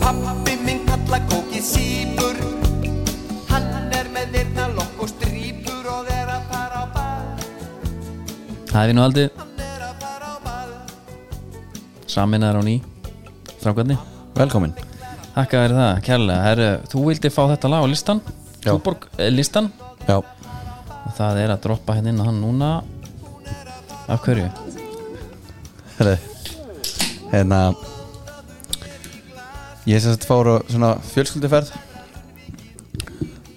pappi minn kalla kóki sípur Hann er með þeirna lokk og strípur og er að fara á ball Það er nú aldrei Hann er að fara á ball saminnaður á ný Strákarni, Velkomin þakka þér það, kærlega Herru, þú vildi fá þetta lag á listan Já. Túborg eh, listan Já, og það er að droppa hérna inn á hann núna Af hverju? herri Hérna Ég sem þetta fór á svona fjölskylduferð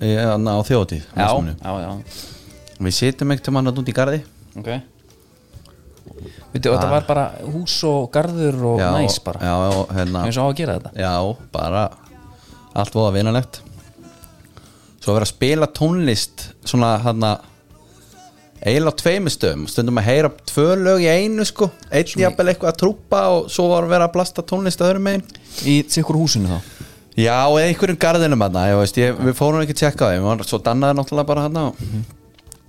Ég er á þjóðatíð á Vatnsmýri. já, já Við sitjum ekkert um hann út í garði Ok Veitu, og þetta var bara hús og garður og Ah. Já, næs bara Já, já, hérna eins og á að gera þetta Já, bara allt voða vinalegt Svo að vera að spila tónlist svona hérna eiginlega á tveimur stöðum stundum að heyra tvö lög í einu sko einn jafnvel eitthvað að trúpa og svo var að vera að blasta tónlist að öðrum megin Í sikkur húsinu þá Já, eða einhverjum garðinum hérna ég veist, ég, við fórum ekki að tjekka það ég var svo dannaði náttúrulega bara hérna og Mhm.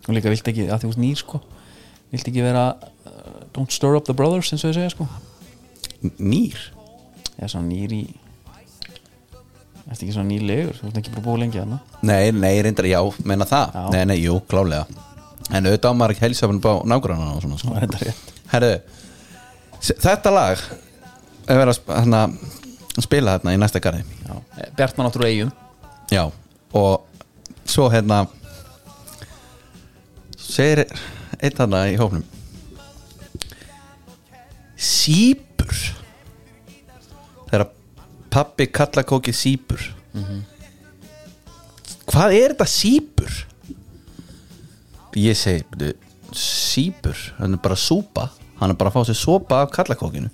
og líka vilt ekki, að því hús nýr sko vilt ekki vera uh, don't stir up the brothers eins og þau segja sko N- nýr Já, svona nýr í Þetta ekki svona nýr legur, þú ert ekki bara búið lengi þarna Nei, nei, reyndar, já, meina það Já. Nei, nei, jú, klálega En auðvitað á maður ekki helsefnum á nágrannana og svona Það sko var þetta rétt Herðu, s- þetta lag er verið að sp- hérna, spila hérna í næsta garði Já. Bjartmann áttur og eigum Já, og svo hérna segir einn þarna í hófnum Sýpur Þegar pappi kalla kókið sýpur Hvað er þetta sýpur? Ég segi byrju, Sýpur, hann er bara súpa Hann er bara að fá sér sopa af kallakókinu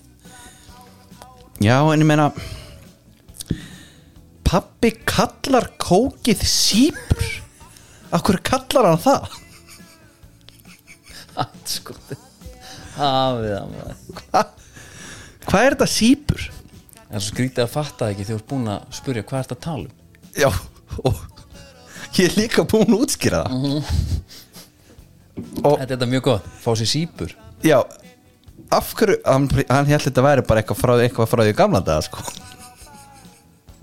Já, en ég meina Pappi kallar kókið sípur Akkur kallar hann það? Skoði Hafið það maður Hva? Hvað er þetta sípur? Það er svo skrítið að fatta það ekki þegar þú ert búin að spurja hvað er þetta tala um Já, og ég er líka búin að útskýra það Og Þetta er þetta mjög gott, fá sér sípur já, af hverju Hann, hann held þetta væri bara eitthvað frá, eitthvað frá því gamla daga sko.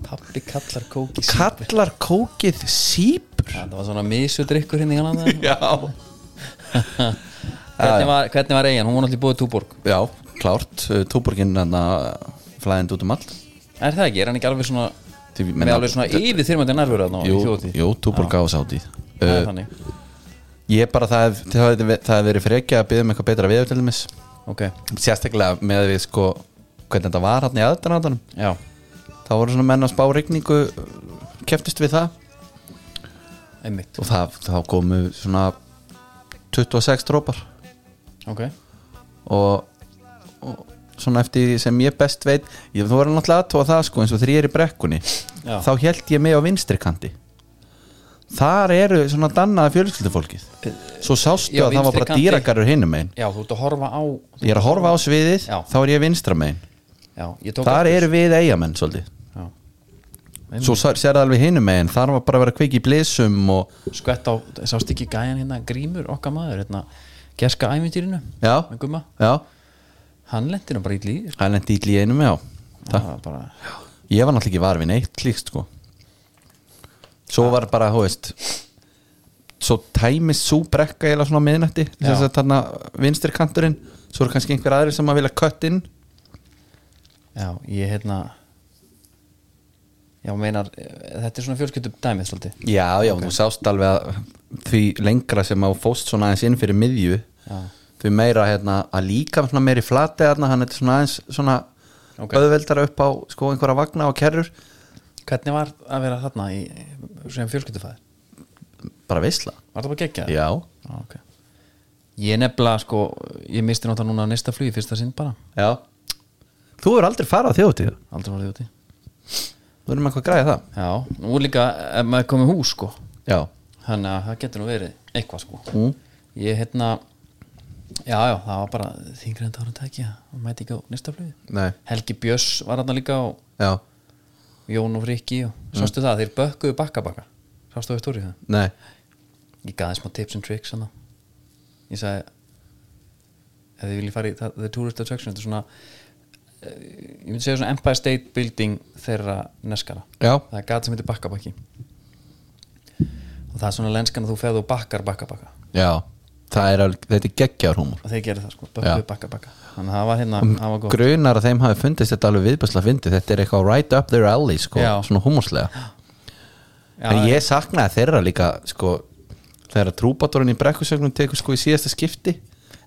Pappi kallar kóki sípur Kallar kókið sípur Það var svona misudrykkur hérna í Hollanda Já Hvernig var, hvernig var eigin? Hún var náttúrulega búið túborg Já, klárt Túborginn hann flæðind út um allt Er það ekki? Er hann ekki alveg svona Því, með alveg svona yfir þyrmandi nærfur þarna á- í Jú, þjóðhátíð? jú túborg á Uh, sátíð Það er þannig Ég er bara það, hef- það, hef- það hef verið frekja að byggja um eitthvað betra við til dæmis Ok, Sérstaklega með að við sko hvernig þetta var hann í aðdæðanandanum já þá voru svona menn að spá regningu keftist við það Einmitt og það, þá komu svona 26 drópar Ok og, og svona eftir því sem ég best veit ég, þú voru náttúrulega aðtóa það sko eins og þrýr í brekkunni Já. þá held ég mig á vinstri kanti þar eru svona dannaða fjölskyldufólkið svo sástu Já, að það var vinstri bara kanti. dýragarur hinum einn Já, þú ert að horfa á ég er að horfa á sviðið, Já. þá er ég vinstra megin Já, ég tók þar eru við eigamenn svolítið Já. svo sér það alveg hinum megin þar var bara að vera kveik í blissum og Skvett á, sást ekki gæjan hérna Grímur, okkar maður, hérna Gerska æmyndýrinu já, Með gumma já, Hann lendi nú bara í líði sko. það er endið í einum já, það, Það var bara ég var náttúrulega ekki varfin eitt líkt sko svo var bara, hú veist svo tæmist svo brekka eða svona á miðnætti Já. þess að þarna vinstir kanturinn svo eru kannski einhver aðri sem að vilja kött inn Já, ég hérna Já, meinar, eh, þetta er svona fjölskyldum dæmið svolítið já, já, þú sást alveg að því lengra sem á fóst svona aðeins inn fyrir miðju Já. því meira hérna, að líka svona meiri flati hérna, hann er svona aðeins svona Ok. öðveldara upp á sko einhverja vagna og kerrur Hvernig var að vera þarna í, sem fjölskyldufæðir? bara veisla Var það bara geggjað? já, Já, ok. Ég nefnilega, sko, ég misti náttúrulega núna næsta flugi fyrsta sinn bara, já þú er aldrei farað þjótið aldrei var þið úti þú erum eitthvað að græða það Já, nú líka ef maður komið hús, sko já, þannig að það getur nú verið eitthvað, sko Mm. Ég, hérna Já, já, það var bara þingri en það var að tekja og mæti ekki á næsta flugi nei, Helgi Björs var hann líka og já, Jón og Friki og sástu það, þeir bökkuðu bakkabakka Sástu það stórið það? nei Ég gaði smá tips and tricks hann Ég sagði ef þið viljið fara í það- The Tourist Attraction þetta er svona eh, ég myndi segja svona Empire State Building þeirra neskara Já. það er gat sem heitir bakkabakki og það er svona lenskan að þú ferð og bakkar bakkabakka Já, það er alveg, þetta er geggjar húmor og þeir gerðu það sko, Já. Um, bökkuðu bakkabakka þannig að það var hérna, það var gott Grunar að þeim hafi fundist þetta alveg viðbæsla fyndi Þetta er eitthvað right up their alley sko, Já. Svona húmorslega En Já, ég saknaði þeirra líka sko, Þegar trúbátorinn í brekkusögnum tekur sko í síðasta skipti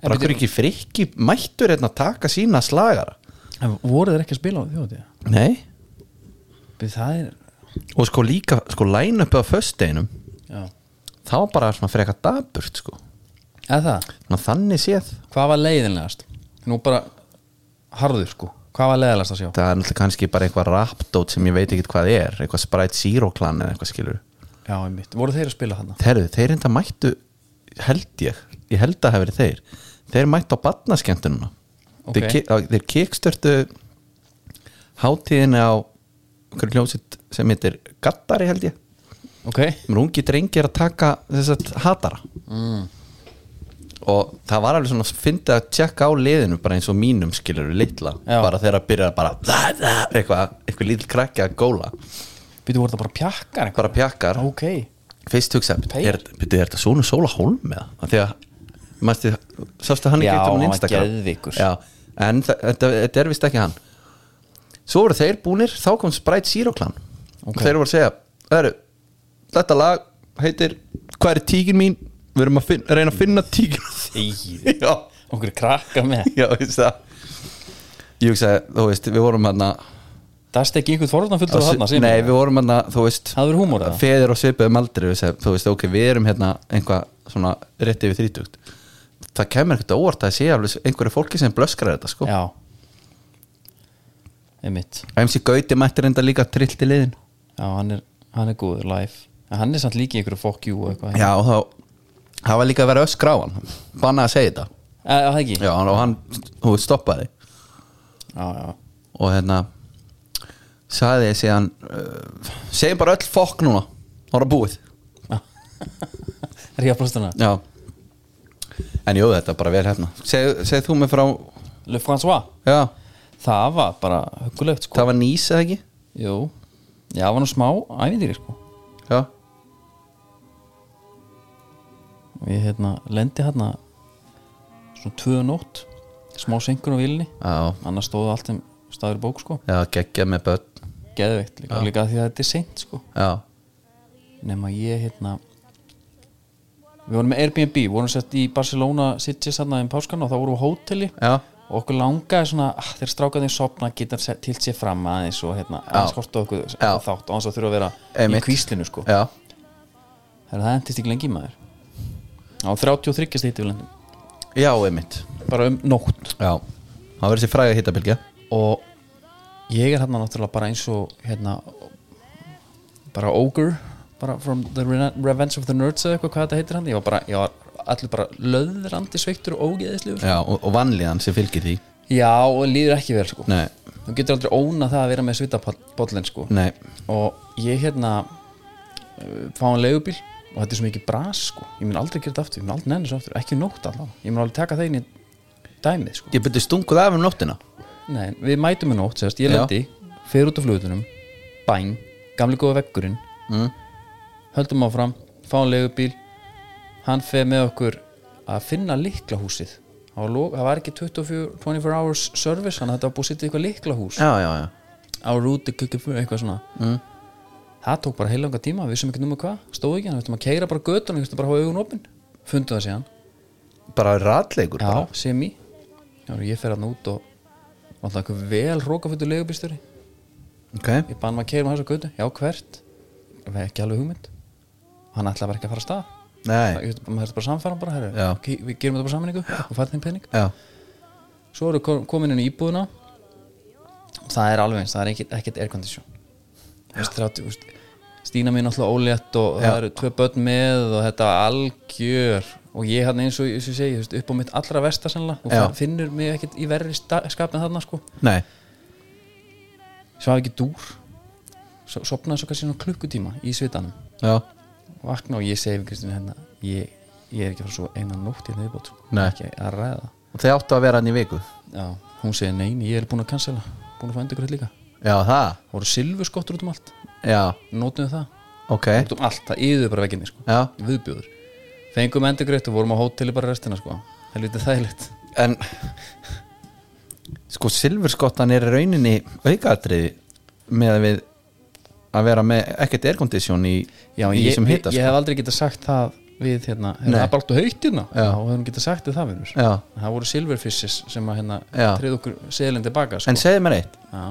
Bara okkur ekki frikki mættur hérna að taka sína slagara en voru þeir ekki að spila á þjóðatíða Nei það er, Og sko líka, sko læna uppi á fösteinum já, Þá bara svona freka daburt sko eða það Ná, Þannig séð hvað var leiðinlegast, nú bara harður sko, hvað var leiðinlegast að sjá Það er náttúrulega kannski bara eitthvað rapdót sem ég veit ekki hvað er Eitthvað Sprite Zero klan eða eitthvað skilur já, einmitt, voru þeir að spila þarna Herru, þeir enda mættu held ég, ég held að hafi verið þeir þeir mættu á batnaskemmtununa Ok. okay. þeir, ki- á- þeir kikstörtu hátíðinni á einhverju hljómsveit sem heitir Gattari held ég ok, rungi drengir að taka þess að hatara Mm. og það var alveg svona fyndið að tjekka á liðinu bara eins og mínum skilur litla Já. bara þegar að byrja bara eitthvað, eitthvað lítil krakki að góla býtu voru það bara pjakkar bara pjakkar ok, fyrst hugsa, Peyr? er, byrju, er þetta svona sóla hólm eða? Af Því að mæstu, sástu hann ekki Já, út um hann var Instagram geðveikur. Já, en þa- þetta þetta er vist ekki hann svo voru þeir búnir, þá kom Sprite Zero Clan Ok. og þeir voru að segja "Heyrðu, þetta lag heitir hvað er tíkin mín, við erum að finna, reyna að finna tíkin Þegið. já, okkur krakka með já, veist það ég hugsaði, þú veist, við vorum hann að Það er ekki einhvern forðan fullur þarna sem nei, við vorum hann að, þú veist Það verður húmor eða? feðir og svipuðum aldrei við sem, þú veist, ok, við erum hérna einhvað svona rétt yfir þrítugt það kemur ekkert á óvart að sé alveg einhverju fólki sem blöskrar þetta sko Já Einmitt MC Gauti mættir enda líka trillt í liðin Já, hann er, hann er góður live En hann er samt líka í einhverju fuck you og eitthvað já, og þá það var líka að vera öskra á hann banna að segja þetta Eh, Það ekki já, og hann, þú veist, stoppaði já, já. og hérna sagði ég síðan uh, segjum bara öll fokk núna ára búið Ríða plastuna já en jú, þetta er bara vel hérna segð seg þú mig frá, Le François já Það var bara huggulegt sko það var nýs eða ekki Jú Já, það var nú smá ævindýri sko Já, Og ég hérna lendi hérna Svona tvöðu nótt Smá senkur á vilni já, Annars stóðu allt um staður í bók sko já geggja með börn Geðveikt líka, líka af því að þetta er seint sko Já, nema ég hérna við vorum með Airbnb, við vorum sett í Barcelona Sitges þarna um páskan og þá vorum við á hóteli já, og okkur langaði svona ah, þeir strákaði sopna, geta sett til sér fram aðeins og hérna, aðeins hortu okkur Já. þátt og hans að þurfa að vera Einmitt. í kvíslinu sko, já Þegar það endist ekki lengi maður á 33 stýtti við lendum, Já, einmitt bara um nótt Já, það verður sér fræga hittabilgja og ég er hérna náttúrulega bara eins og hérna bara ogre bara from the Re- revenge of the nerds eða eitthvað hvað þetta heitir hann ég var bara, ég var allir bara löðrandi sveiktur og ógeðislegur Já, og, og vanlíðan sem fylgir því já og líður ekki vel sko Nei, þú getur aldrei óna það að vera með svitabollin sko nei, og ég hérna uh, fá hann leigubíl og þetta er svo mikið bras sko ég mun aldrei gera þetta aftur, ég mun aldrei nenni svo aftur ekki í nótt allavega, ég mun alveg taka það inn í dæmið sko ég byrju stunguð af um nóttina Nei, við mætum um henni ótt, sérst, ég Já. lendi fer út á flugutunum, bæn gamli góða veggurinn Mm. höldum áfram, fáum legubíl hann fer með okkur að finna liklahúsið það var, lo- það var ekki 24, 24 hours service, þannig að þetta var búið að setja í eitthvað liklahús Já, já, já, á rúti, kukki, eitthvað svona mm. það tók bara heilanga tíma, við sem ekki númer hvað stóð ekki, hann veistum að keira bara götun veistum bara að hafa augun opinn, fundu það síðan bara ratleikur Já, bara. semi Já, ég fer hann út og vantar einhver vel hrókaföldu legubílstjóri Ok, ég bann maður að keira um þessa götu, já hvert það er ekki alveg hugmynd hann ætlaði bara ekki að fara af stað Það- nei ég veist, maður þurfti bara að samfæra hann bara, herri, Já. ok, við gerum þetta bara saminningu og færið þeim pening Já, svo eru kom- komin inn í íbúðuna og það er alveg eins, það er ekkert, ekkert aircondition Þú veist, 30, þú veist, Stína mín alltaf ólétt og það eru tvö börn með og þetta algjör og ég hann eins og eins og ég segi, þú veist, upp á mitt allra versta sennilega og Já. það finnur mig ekkert í verri sta- skapin þarna sko nei, svo hafi ekki dúr so, sopnaði svo kannski svona klukkutíma í svitanum já, vakna og ég segi við Kristínu hérna ég, ég er ekki að fara svo eina nótt í það viðbót sko. Nei. ekki að ræða og þau áttu að vera hann í viku já, hún segir nein, ég er búin að cancela búin að fá endurgrætt líka Já, það það voru silfurskottur út um allt Já, notum það ok út um allt, það yður bara veginni sko. Já. viðbjóður fengum endurgrætt og vorum á hóteli bara restina sko. það er lítið þægilegt En Sko, silfurskottan er í rauninni aukaðatriði með að við að vera með ekkert aircondition í, Já, í ég, sem ég, hita sko. ég hef aldrei getað sagt það við hérna, hefur Nei. það bara allt og haugt hérna Já. Já, og hefum getað sagt þið það við mér sko. Já, það voru silverfishes sem að hérna Já. treð okkur seðlinn tilbaka sko. en segðu mér eitt Já.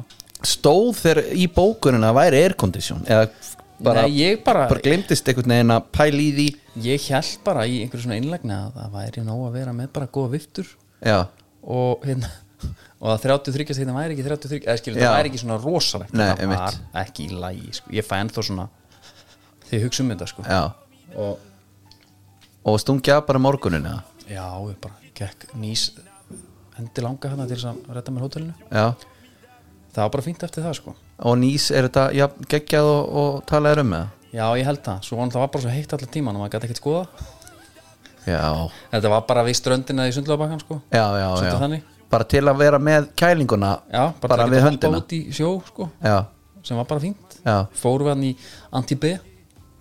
Stóð þeir í bókunin að væri aircondition eða bara, Nei, ég bara, bara glimtist einhvern veginn að pæla í því ég held bara í einhverjum svona einlagna að það væri nóg að vera með bara góða viftur Já, og hérna og að 33 stegna væri ekki 33 eða skilur Já. það væri ekki svona rosalegt Nei, það var einmitt. ekki í lagi sko. ég fæ ennþá svona þið hugsa um þetta sko já og Og stungja bara morgunin eða já, ég bara gekk nýs hendi langa hana til þess að redda mér hótelinu Já, það var bara fínt eftir það sko og nýs er þetta já, geggjað og, og talaður um með já, ég held það, svo hann það var bara svo heitt allar tíman og maður gæti ekkert skoða Já, þetta var bara við ströndina í sundlöfabakkan sko já, já, Svolítið já. þannig. Bara til að vera með kælinguna já, bara, bara til að við geta höndina hoppað út í sjó sko Já, sem var bara fínt já, fórum við hann í Antibé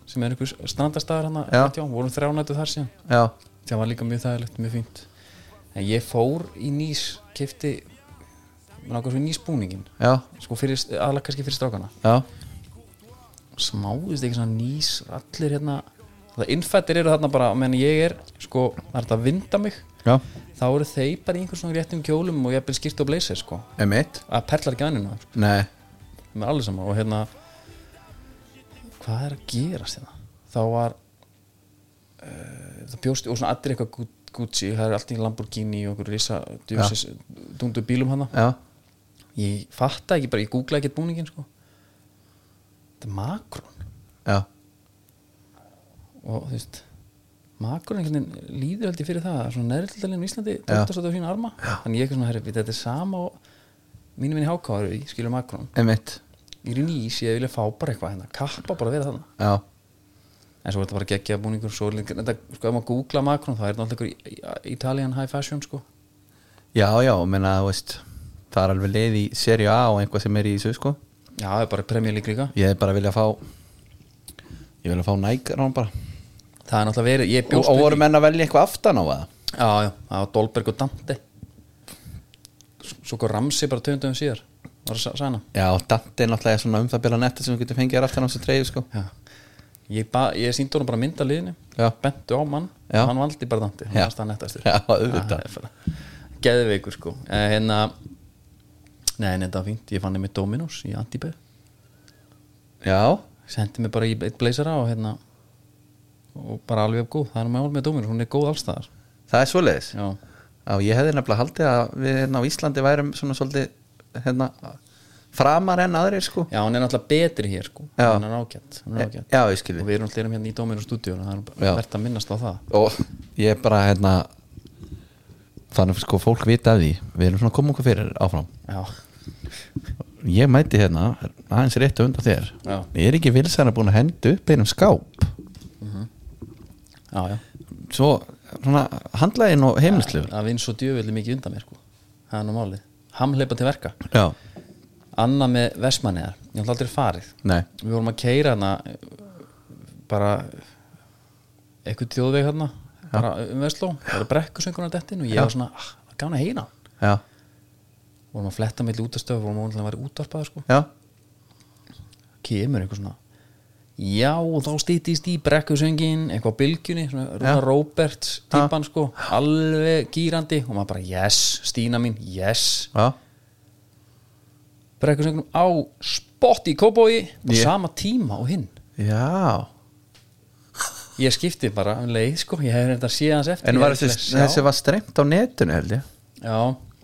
sem er hérna einhvers strandastaðar hann Já. vorum þrjánættu þar síðan já það var líka mjög þægilegt, mjög fínt en ég fór í nýs kefti nákvæmst við nýsbúningin Já, sko fyrir, aðla kannski fyrir strákana já, smáðist ekki svona nýs allir hérna, það innfættir eru þarna bara menn ég er, sko, það er þetta að vinda mig já þá eru þeir bara í einhvers svona réttum kjólum og ég er byrð skýrt og bleysir, sko Emitt að perlar ekki annina, sko, Nei, með allir saman og hérna hvað er að gerast hérna þá var uh, það bjóst og svona allir eitthvað Gu- Gucci, það er allt í Lamborghini og okkur risa djúsis, dundu bílum hana já, ég fatta ekki bara, ég googla ekkert búningin sko þetta er makrón já og þú veist makrón einhvern veginn líður aldrei fyrir það svona neðrildalegin í Íslandi, Já. tóttast þetta á sína arma Já. þannig ég er eitthvað svona herri, þetta er sama og mínum minni hákáður í skilur makrón Emitt ég er í nýs, ég vilja fá bara eitthvað hérna kappa bara að vera þarna Já, en svo er þetta bara geggja búningur svo er líka- þetta, sko, ef maður googla Macron þá er þetta alltaf ykkur í- í- Italian high fashion sko já, já, menna, þú veist Það er alveg leið í serju A og einhvað sem er í þessu, sko já, það er bara Premier League líka Ég er bara að vilja fá Ég vilja fá Nike rán bara það er náttúrulega verið, ég Og, bjóst og við voru menn að velja eitthvað aftan á það því já, já, það var Dolberg og Dante S- svo hvað Ramsey bara töndum síðar var að sæna Já, Dante er náttúrulega svona um það byrja netta sem þú getur fengið er aftan á þessu treyju, sko já. ég, ba- ég síndi honum bara mynda liðinu Já. bentu á mann, Já. hann valdi bara Dante hann Já. varst það nettastur Já, auðvitað. geðveikur sko Eh, hérna nei, nei, þetta var fínt, ég fann einmitt Dominos í Antibé Já, sendi mig bara í eitt blazera og hérna og bara alveg jafn góð, það er mál með dóminu hún er góð allstaðar það er svoleiðis já, Já, ég hefði nefnilega haldið að við hérna á Íslandi værum svona svolítið hérna, framar en aðrir sko já hún er náttúrulega betri hér sko Já. hún er ágætt, hún er ágætt. Já, ég skil og við við erum alltaf erum hérna í dóminu stúdíu það er Já. bara verðt að minnast á það Og ég er bara hérna þannig að sko fólk vita af því við erum svona að koma okkur fyrir áfram já, Ég mæti hérna, aðeins réttu undan þér Já. Ég er ekki vilsæðan að búin að hendu upp einum skáp já, já Svo, svona, handlaðin og heimlislegur það vinn svo djöfulli mikið undan mér sko það er nú málið, hamleipa til verka Já, Anna með Vestmanniðar, ég ætla aldrei farið nei, við vorum að keira hana bara eitthvað þjóðveg hana bara um Vestló, það eru brekkusöngunar dettin og ég Já. var svona, ah, gána heina já, vorum að fletta milli útastöð vorum að vera útvarpaður sko já kemur eitthvað svona já, þá stýttist í brekkusöngin eitthvað á bylgjunni, svona Rúna Róbert típan sko, alveg gýrandi og maður bara, yes, Stína mín yes, Já, brekkusöngunum á spott í kóbói á Ég- sama tíma og hinn já. ég skipti bara um leið sko, ég hef reynda síðans eftir En Ég var er þessi, ekki að sjá. þessi var strengt á netinu held ég já,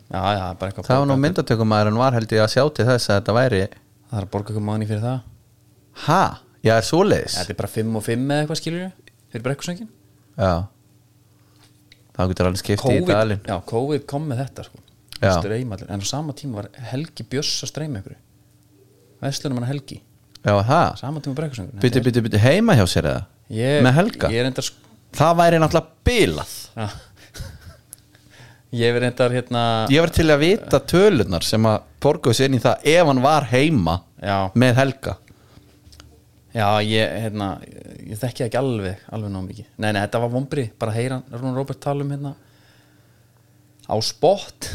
já, já, bara eitthvað Það var nú borga- myndatökumæðurinn var held ég að sjá til þess að þetta væri það er að borga eitthvað manni fyrir það Ha? Já, svoleiðis þetta er bara 5 og 5 eða eitthvað skilur fyrir brekkusöngin Já Það getur alveg skipt í COVID, dalinn já, COVID kom með þetta sko. Já. streymallir, en á sama tíma var Helgi Bjöss að streyma ykkur Vestlunum hann Helgi, Já, á það sama tíma brekkusöngur Byttu, byttu, byttu heima hjá sér eða ég, Með Helga ég er enda sko Það væri náttúrulega bilað Já. Ég verið reyndar hérna Ég var til að vita tölunar sem að borguðu sér inn í það ef hann var heima Já. með Helga Já, ég, hérna, ég þekki það ekki alveg alveg náum mikið Nei, nei, þetta var vombri, bara að heyra Rún Róbert tala um hérna á spott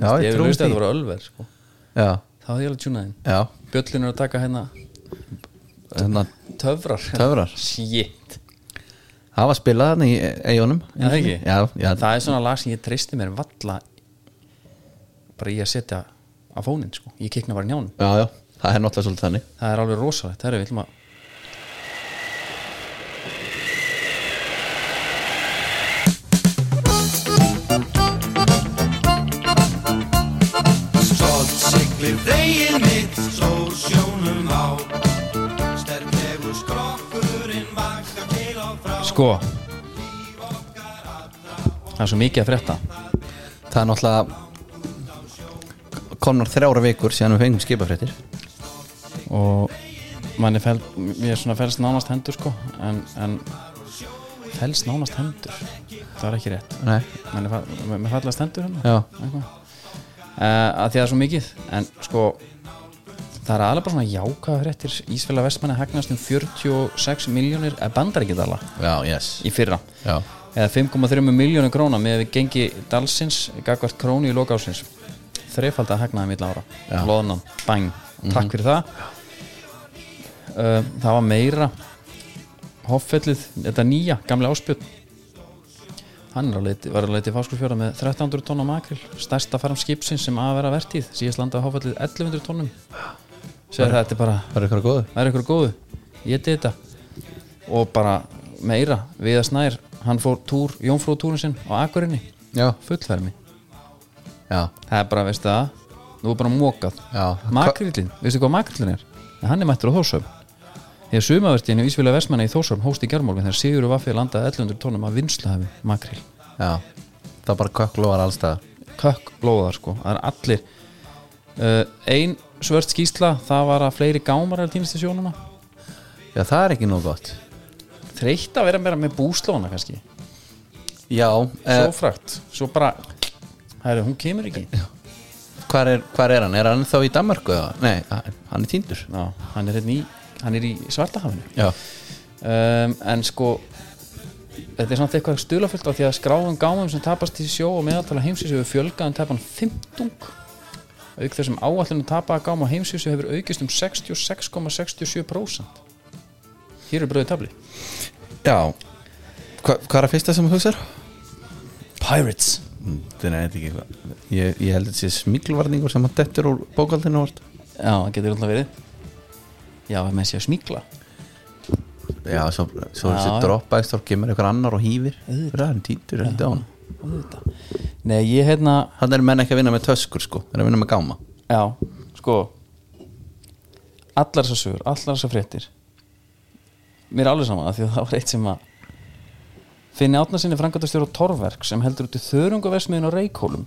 Já, ég ég trúi veist að því. þetta voru ölver sko. Já, þá hefði ég alveg tjúnaðin já, hérna, Bjöllin er að taka hérna þannig að töfrar töfrar Shit Það var spilað hann í eigunum Já, það ekki? Já, já, Það er svona lag sem ég treysti mér valla bara í að setja á fóninn sko, ég kikna bara í njánum já, já, það er náttúrulega svolítið þannig það er alveg rosalegt, það er við ætlum að Stolt siglir vegið mitt Svo sjónum á Sterklegur skrokkurinn Vakar til á frá sko það er svo mikið að frétta Það er náttúrulega komnar þrjára vikur síðan við fengum skipafréttir og manni fel, mér svona fels nánast hendur sko en, en fels nánast hendur það er ekki rétt Nei, manni fa- mér fallast hendur hérna já, uh, að því að það er svo mikið en sko það er alveg bara svona jákað hrettir Ísfélag Vestmanni hagnast um 46 miljónir eh, bandaríkjadala já, yes í fyrra Já, eða 5,3 miljónir króna með við gengi dalsins gagvart krónu í lokásins þreifald að hagnaði milla ára Já. loðnan, bang, takk fyrir það uh, það var meira hoffellið, þetta nýja, gamli áspjöld hann er á leiti, var að leiti fáskursfjóra með 1300 tónna makril stærsta farm skipsin sem að vera vertíð síðast landaði hoffellið 1100 tónnum segir þetta er bara það er ykkur góður það er ykkur góðu, ég geti þetta og bara meira Viðar Snær, hann fór túr Jónfrú túrin sinn á Akurinni Já, fullfermi, já, það er bara, veistu það nú er bara mókað Já. makrillin, veistu hvað makrillin er? En hann er mættur á Þórsöfn þegar sumavertíðinu Ísfélag Vestmanna í Þórsöfn hóst í germálfin þegar Sigur og Vaffi landaði 1100 tónum af vinsluhafi makrill já Það er bara kökklóðar allstæðar kökk blóðar sko, það er allir uh, ein svört skýsla það var að fleiri gámar er týnist í sjónuna Já, það er ekki nóg gott þreytt að vera meira með búslóna kannski Já, eh, svo frægt, svo bara herru, hún kemur ekki hvar, er, hvar er hann? Er hann þá í Danmarku? eða? Nei, hann er týndur Ná, hann er hérna í, hann er í svartahafinu Já, um, en sko þetta er samt eitthvað stulafullt á því að skráðum gámum sem tapast í sjó og meðaltala heimsísu hefur fjölgað um tapan 15 auk þessum áallinu tapaða gáma á heimsísu hefur aukist um 66,67% hér er bröðið tabli já Hva, Hvað er að fyrsta sem þú hugsar? Pirates Það er eitthvað ekki hvað Ég, ég held að þetta sé smíklvarningur sem að dettur úr bókaldinu vart já, það getur alltaf verið já, það með sé að smíkla Já, svo, svo Já, þessi já. droppa ekki stór kemur eitthvað annar og hýfir Það er hann týndur, þetta á hann Auðvitað. nei, ég hérna Þannig er menn ekki að vinna með töskur sko Þeir eru að vinna með gáma Já, sko Allar þessar sögur, allar þessar fréttir Mér er alveg saman að því að það var eitt sem að Finni Átnarsinni frangatastjóra Torverk sem heldur út í þörungaversmiðin á Reykjólum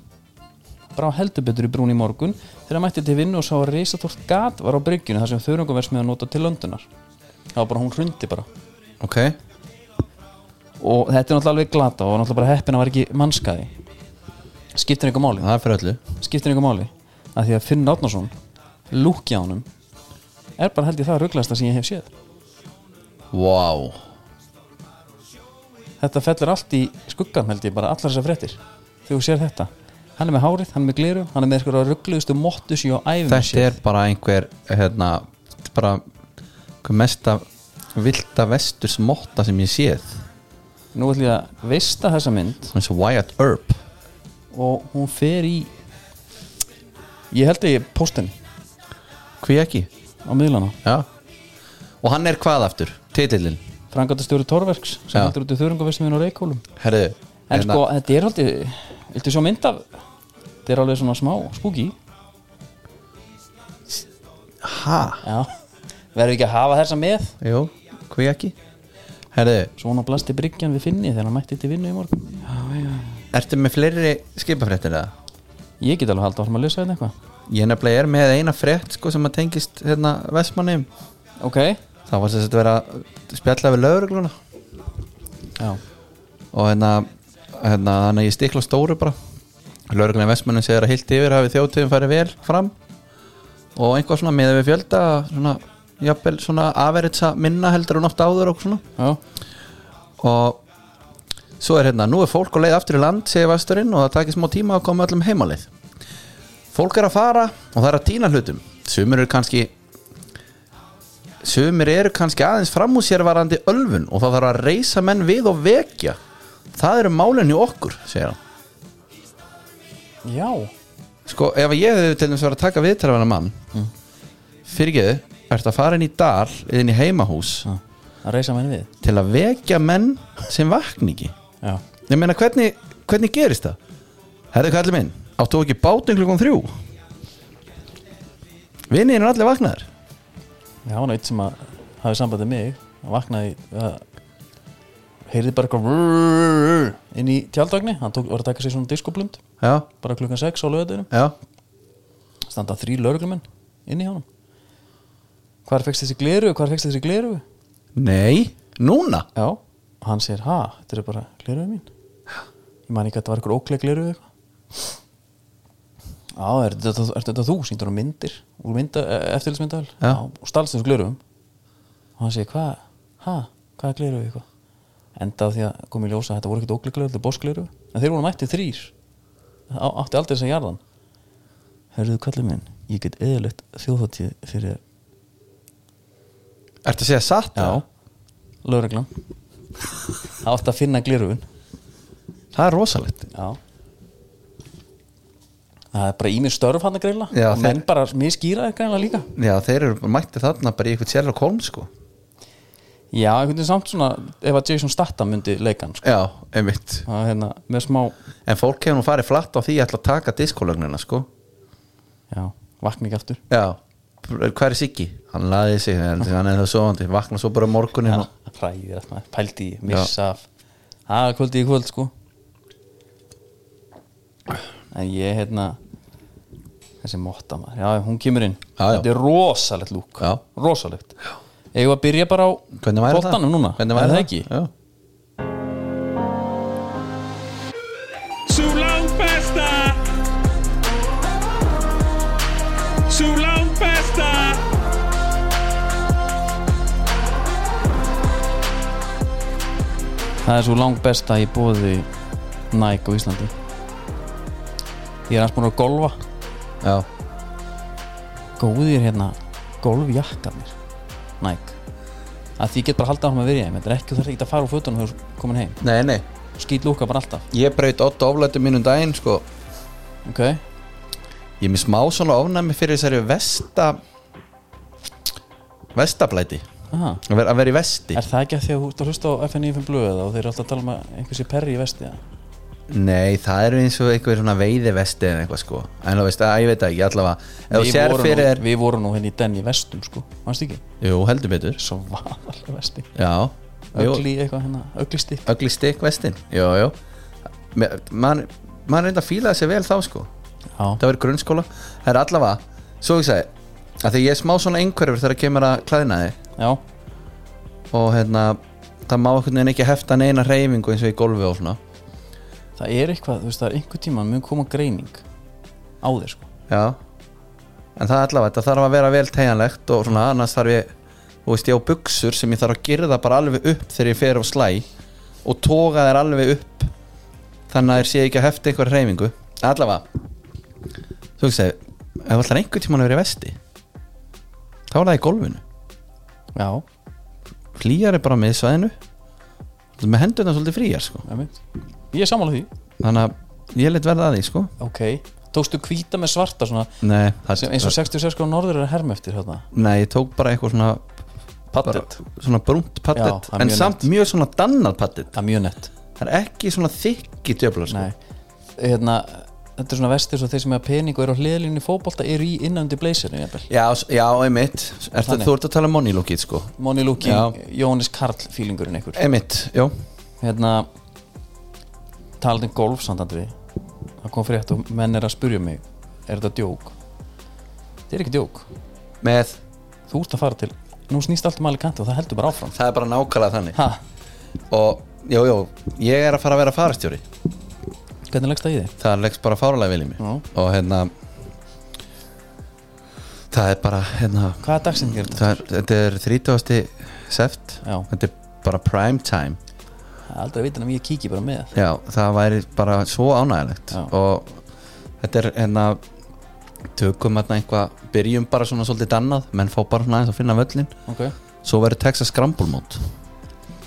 brá heldur betur í brún í morgun þegar hann mætti til vinnu og sá að reisatort gat var á bryggjunni þar sem þörungaversmiðin nota til löndunar það var bara hún hrundi bara Ok, og þetta er náttúrulega alveg glata og náttúrulega bara heppin að var ekki mannskaði skiptir einhver máli það er fyrir öllu skiptir einhver máli að því að Finn Átnarsson lúkja honum er bara held ég það rugglæsta sem ég hef séð Vá þetta fellur allt í skuggan held ég bara allar þessar fréttir þegar þú sér þetta hann er með hárið, hann er með gleru, hann er með eitthvað ruggluðustu móttu sem ég á æfum Þetta er bara einhver hérna, þetta er bara einhver mesta vilda vesturs motta sem ég séð nú ætlum ég að veista þessa mynd eins og Wyatt Earp og hún fer í ég held að ég posti henni Hví ekki? á miðlana Já Og hann er hvað aftur? Titillin frangatastjóri Torverks sem Já. heldur út í þörungavismin og reikólum Herðu en hérna- sko þetta er haldið viltu sjá mynd af þetta er alveg svona smá spooky Ha? Já, verður ekki að hafa þessa með Jú, hví ekki? Herðu, Svona blasti bryggjan við finni þegar hann mætti til vinnu í morgun já, já. ertu með fleiri skipafréttir eða? Ég get alveg haldið áfram að lesa þetta eitthvað Ég nefnilega er með eina frétt sko sem að tengist hérna Vestmannum Ok Það var sem sagt verið að vera spjalla við lögregluna Já, og hérna, hérna þannig að ég stikla á stóru bara Lörgna vestmennin segir að heilt yfir hafi þjóðtíðin farið vel fram og einhvað svona með við fjölda svona, jafnvel svona aferitsa minna heldur en oft áður og svona já, og svo er hérna, nú er fólk á leið aftur í land segir vesturinn og það takir smá tíma að koma öllum heimalið fólk er að fara og það er að týna hlutum sumir eru kannski sumir eru kannski aðeins fram úr sér varandi ölfun og það þarf að reysa menn við og vekja það eru málinni okkur, segir hann já. Sko, ef ég hefði til þess að vera að taka viðtal af hennar mann mm. Fyrirgeðu, ertu að fara inn í dal eða inn í heimahús Mm. að reysa menn við til að vekja menn sem vakningi já, Ég meina, hvernig, hvernig gerist það? Herðu kallið minn, áttu ekki bátinn klukkan þrjú? Vinnin er allir vaknaðir já, hann eitt sem að hafi sambandið mig, hann vaknaði uh, heyrði bara eitthvað inn í tjaldagni, hann tók, var að taka sér svona diskoblund Já, bara klukkan 6 á löðinu já, standa þrý lögreglumenn inn í honum hvar fegst þessi gleru, hvar fegst þessi gleru nei, núna já, og hann segir, ha, þetta er bara gleruðu mín ég man ekki að þetta var eitthvað ókleg gleruðu eitthvað já, er þetta, er þetta þú síndur hann myndir, úr mynda, eftirlismyndavel Já. og stalst þessu gleruðum og hann segir, hvað, ha, hvað er gleruðu eitthvað enda á því að kom í ljósa að þetta voru ekkert ókleg gleruðu, þetta er bóskleruðu en þeir voru mættið þrýr átti aldrei þess að jarðan Herðu kallið minn, ég get eðalegt þjóðháttíð fyrir Ertu að segja satt? Já, eða? lögreglan Það átti að finna glirrufun Það er rosalegt Já Það er bara ímið störf hann að greila Já, og menn bara miskýra þeir greila líka Já, þeir eru mætti þarna bara í eitthvað sérlega kolm sko Já, einhvern veginn samt svona ef að Jason Statham myndi leikan sko. Já, einmitt það er hérna með smá En fólk hefur nú farið flatt á því að ætla að taka diskolögnina sko já, vakna ekki aftur Já, hvað er Siggi? Hann laði sig, en hann er það sofandi Vakna svo bara morgunin og... Ræðir að maður pældi í missa af Það er kvöldi í kvöld sko En ég hérna þessi motta maður, já hún kemur inn Já, já. Þetta er rosalegt lúk Já. Rosalegt Eigum við að byrja bara á Hvernig væri það? boltanum núna Hvernig væri Er það? ekki? Já. Sú langt besta Sú langt besta Það er svo langt besta í bóði Nike á Íslandi Ég er hans búin að golfa Já, Góðir hérna golfjakkarnir Nike að því ég get bara haldið áfram að vera í þeim þetta er ekki þú þarf ekki að fara úr fötunum þegar þú ert komin heim nei, nei skýt lúka bara alltaf Ég braut 8 oflætu mínum daginn sko ok, Ég er mér smá svona ofnæmi fyrir þessari vesta Vestablæti aha Að vera, að vera í vesti er það ekki að því að þú ert að hlusta á FNF blöðu eða og þeir eru alltaf að tala um að einhver sé perri í vesti eða? Nei, það eru eins og einhver svona veiði vesti En eitthvað sko En þú veist, að, ég veit það ekki allavega Ef þú við, sér vorum fyrir nú, þér við vorum nú henni í den í vestum sko, mannst ekki Jú, heldur betur svo vaðalega vesti Já Jú. ögli eitthvað hérna, ögli stikk Ugly Stick Vestin Jú, jú Me- Man, man reynda að fíla þessi vel þá sko já, Það verið grunnskóla Það er allavega Svo ég segi að Þegar ég er smá svona einhverfur þegar kemur að klæðina þig já, Og hérna Það má einhvern veginn ekki hefta neina reyfingu eins og í golfi og svona það er eitthvað þú veist, það er einhver tíma mun koma greining á þér sko Já En það er allavega Þetta þarf að vera vel tegjanlegt Og svona annars þarf ég Þú veist ég á buksur sem ég þarf að girða bara alveg upp Þegar ég fer á slæ Og toga þær alveg upp Þannig að þér sé ekki að hefta einhver reyfingu Allavega Þú veist að Ef alltaf einhvern tímann að vera í vesti Þá er það í golfinu já, Hlýjar er bara með svæðinu Með hendurna svolítið fríjar sko ég veit ég er sammála því, Þannig að ég let verða að því sko ok tókstu hvíta með svarta svona Nei, það, sem, eins og 66 á norður er að herma eftir hérna Nei, ég tók bara eitthvað svona Paddet. bara Svona brúnt Já, pattet það er En mjög samt mjög svona dannað pattet það er mjög nett Það er ekki svona þykki djöfla sko. Nei, hérna þetta er svona vestir svo þeir sem er pening og eru á hliðlinni fótbolta eru í innandi blazerinu jafnvel. Já, s- já, einmitt Ert að, Þannig. Þú ert að tala um monilókið sko Moni Luki, Já. Jónis Karl fílingurinn einhver Einmitt, já hérna talað um golf samt andri það kom frétt og menn er að spurja mig er þetta djók? þetta er ekki djók, Með, þú ert að fara til nú snýst allt um Alicante og það heldur bara áfram það er bara nákvæmlega þannig ha, Og, jú, jú, ég er að fara að vera farastjóri hvernig leggst það í þig? það leggst bara fáralega vel í mig Já. og hérna það er bara hérna, Hvaða dagsinn gerir þetta? það er, þetta er 30. seft Já. þetta er bara prime time Það er aldrei að vita um ég kíki bara með Já, það væri bara svo ánægilegt Já. og þetta er hérna tökum hérna eitthvað, byrjum bara svona svolítið annað, menn fá bara svona aðeins að finna völlin Ok, svo verður Texas Scramble mót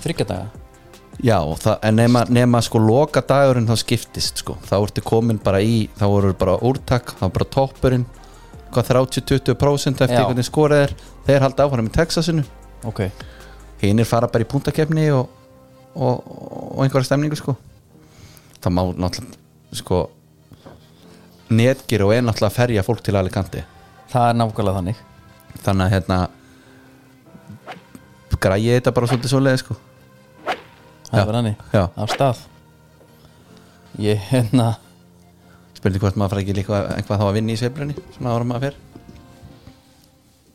þryggja daga Já, og það, en nema, nema sko loka dagurinn þá skiptist sko, þá ertu komin bara í þá voru bara úrtak, þá bara toppurinn hvað 30-20% eftir Já. hvernig skorið er, þeir halda áfram í Texasinu, Ok, hinnir fara bara í puntakefni og, og, og einhverja stemningu sko það má náttúrulega sko netgir og er náttúrulega að ferja fólk til Alicante það er nákvæmlega þannig þannig að hérna græði þetta bara svolítið svoleiði sko Það Já. er bara þannig, Já. af stað Ég hérna spurning hvort maður fara ekki líka eitthvað þá að vinna í sveiflunni svona ára maður fer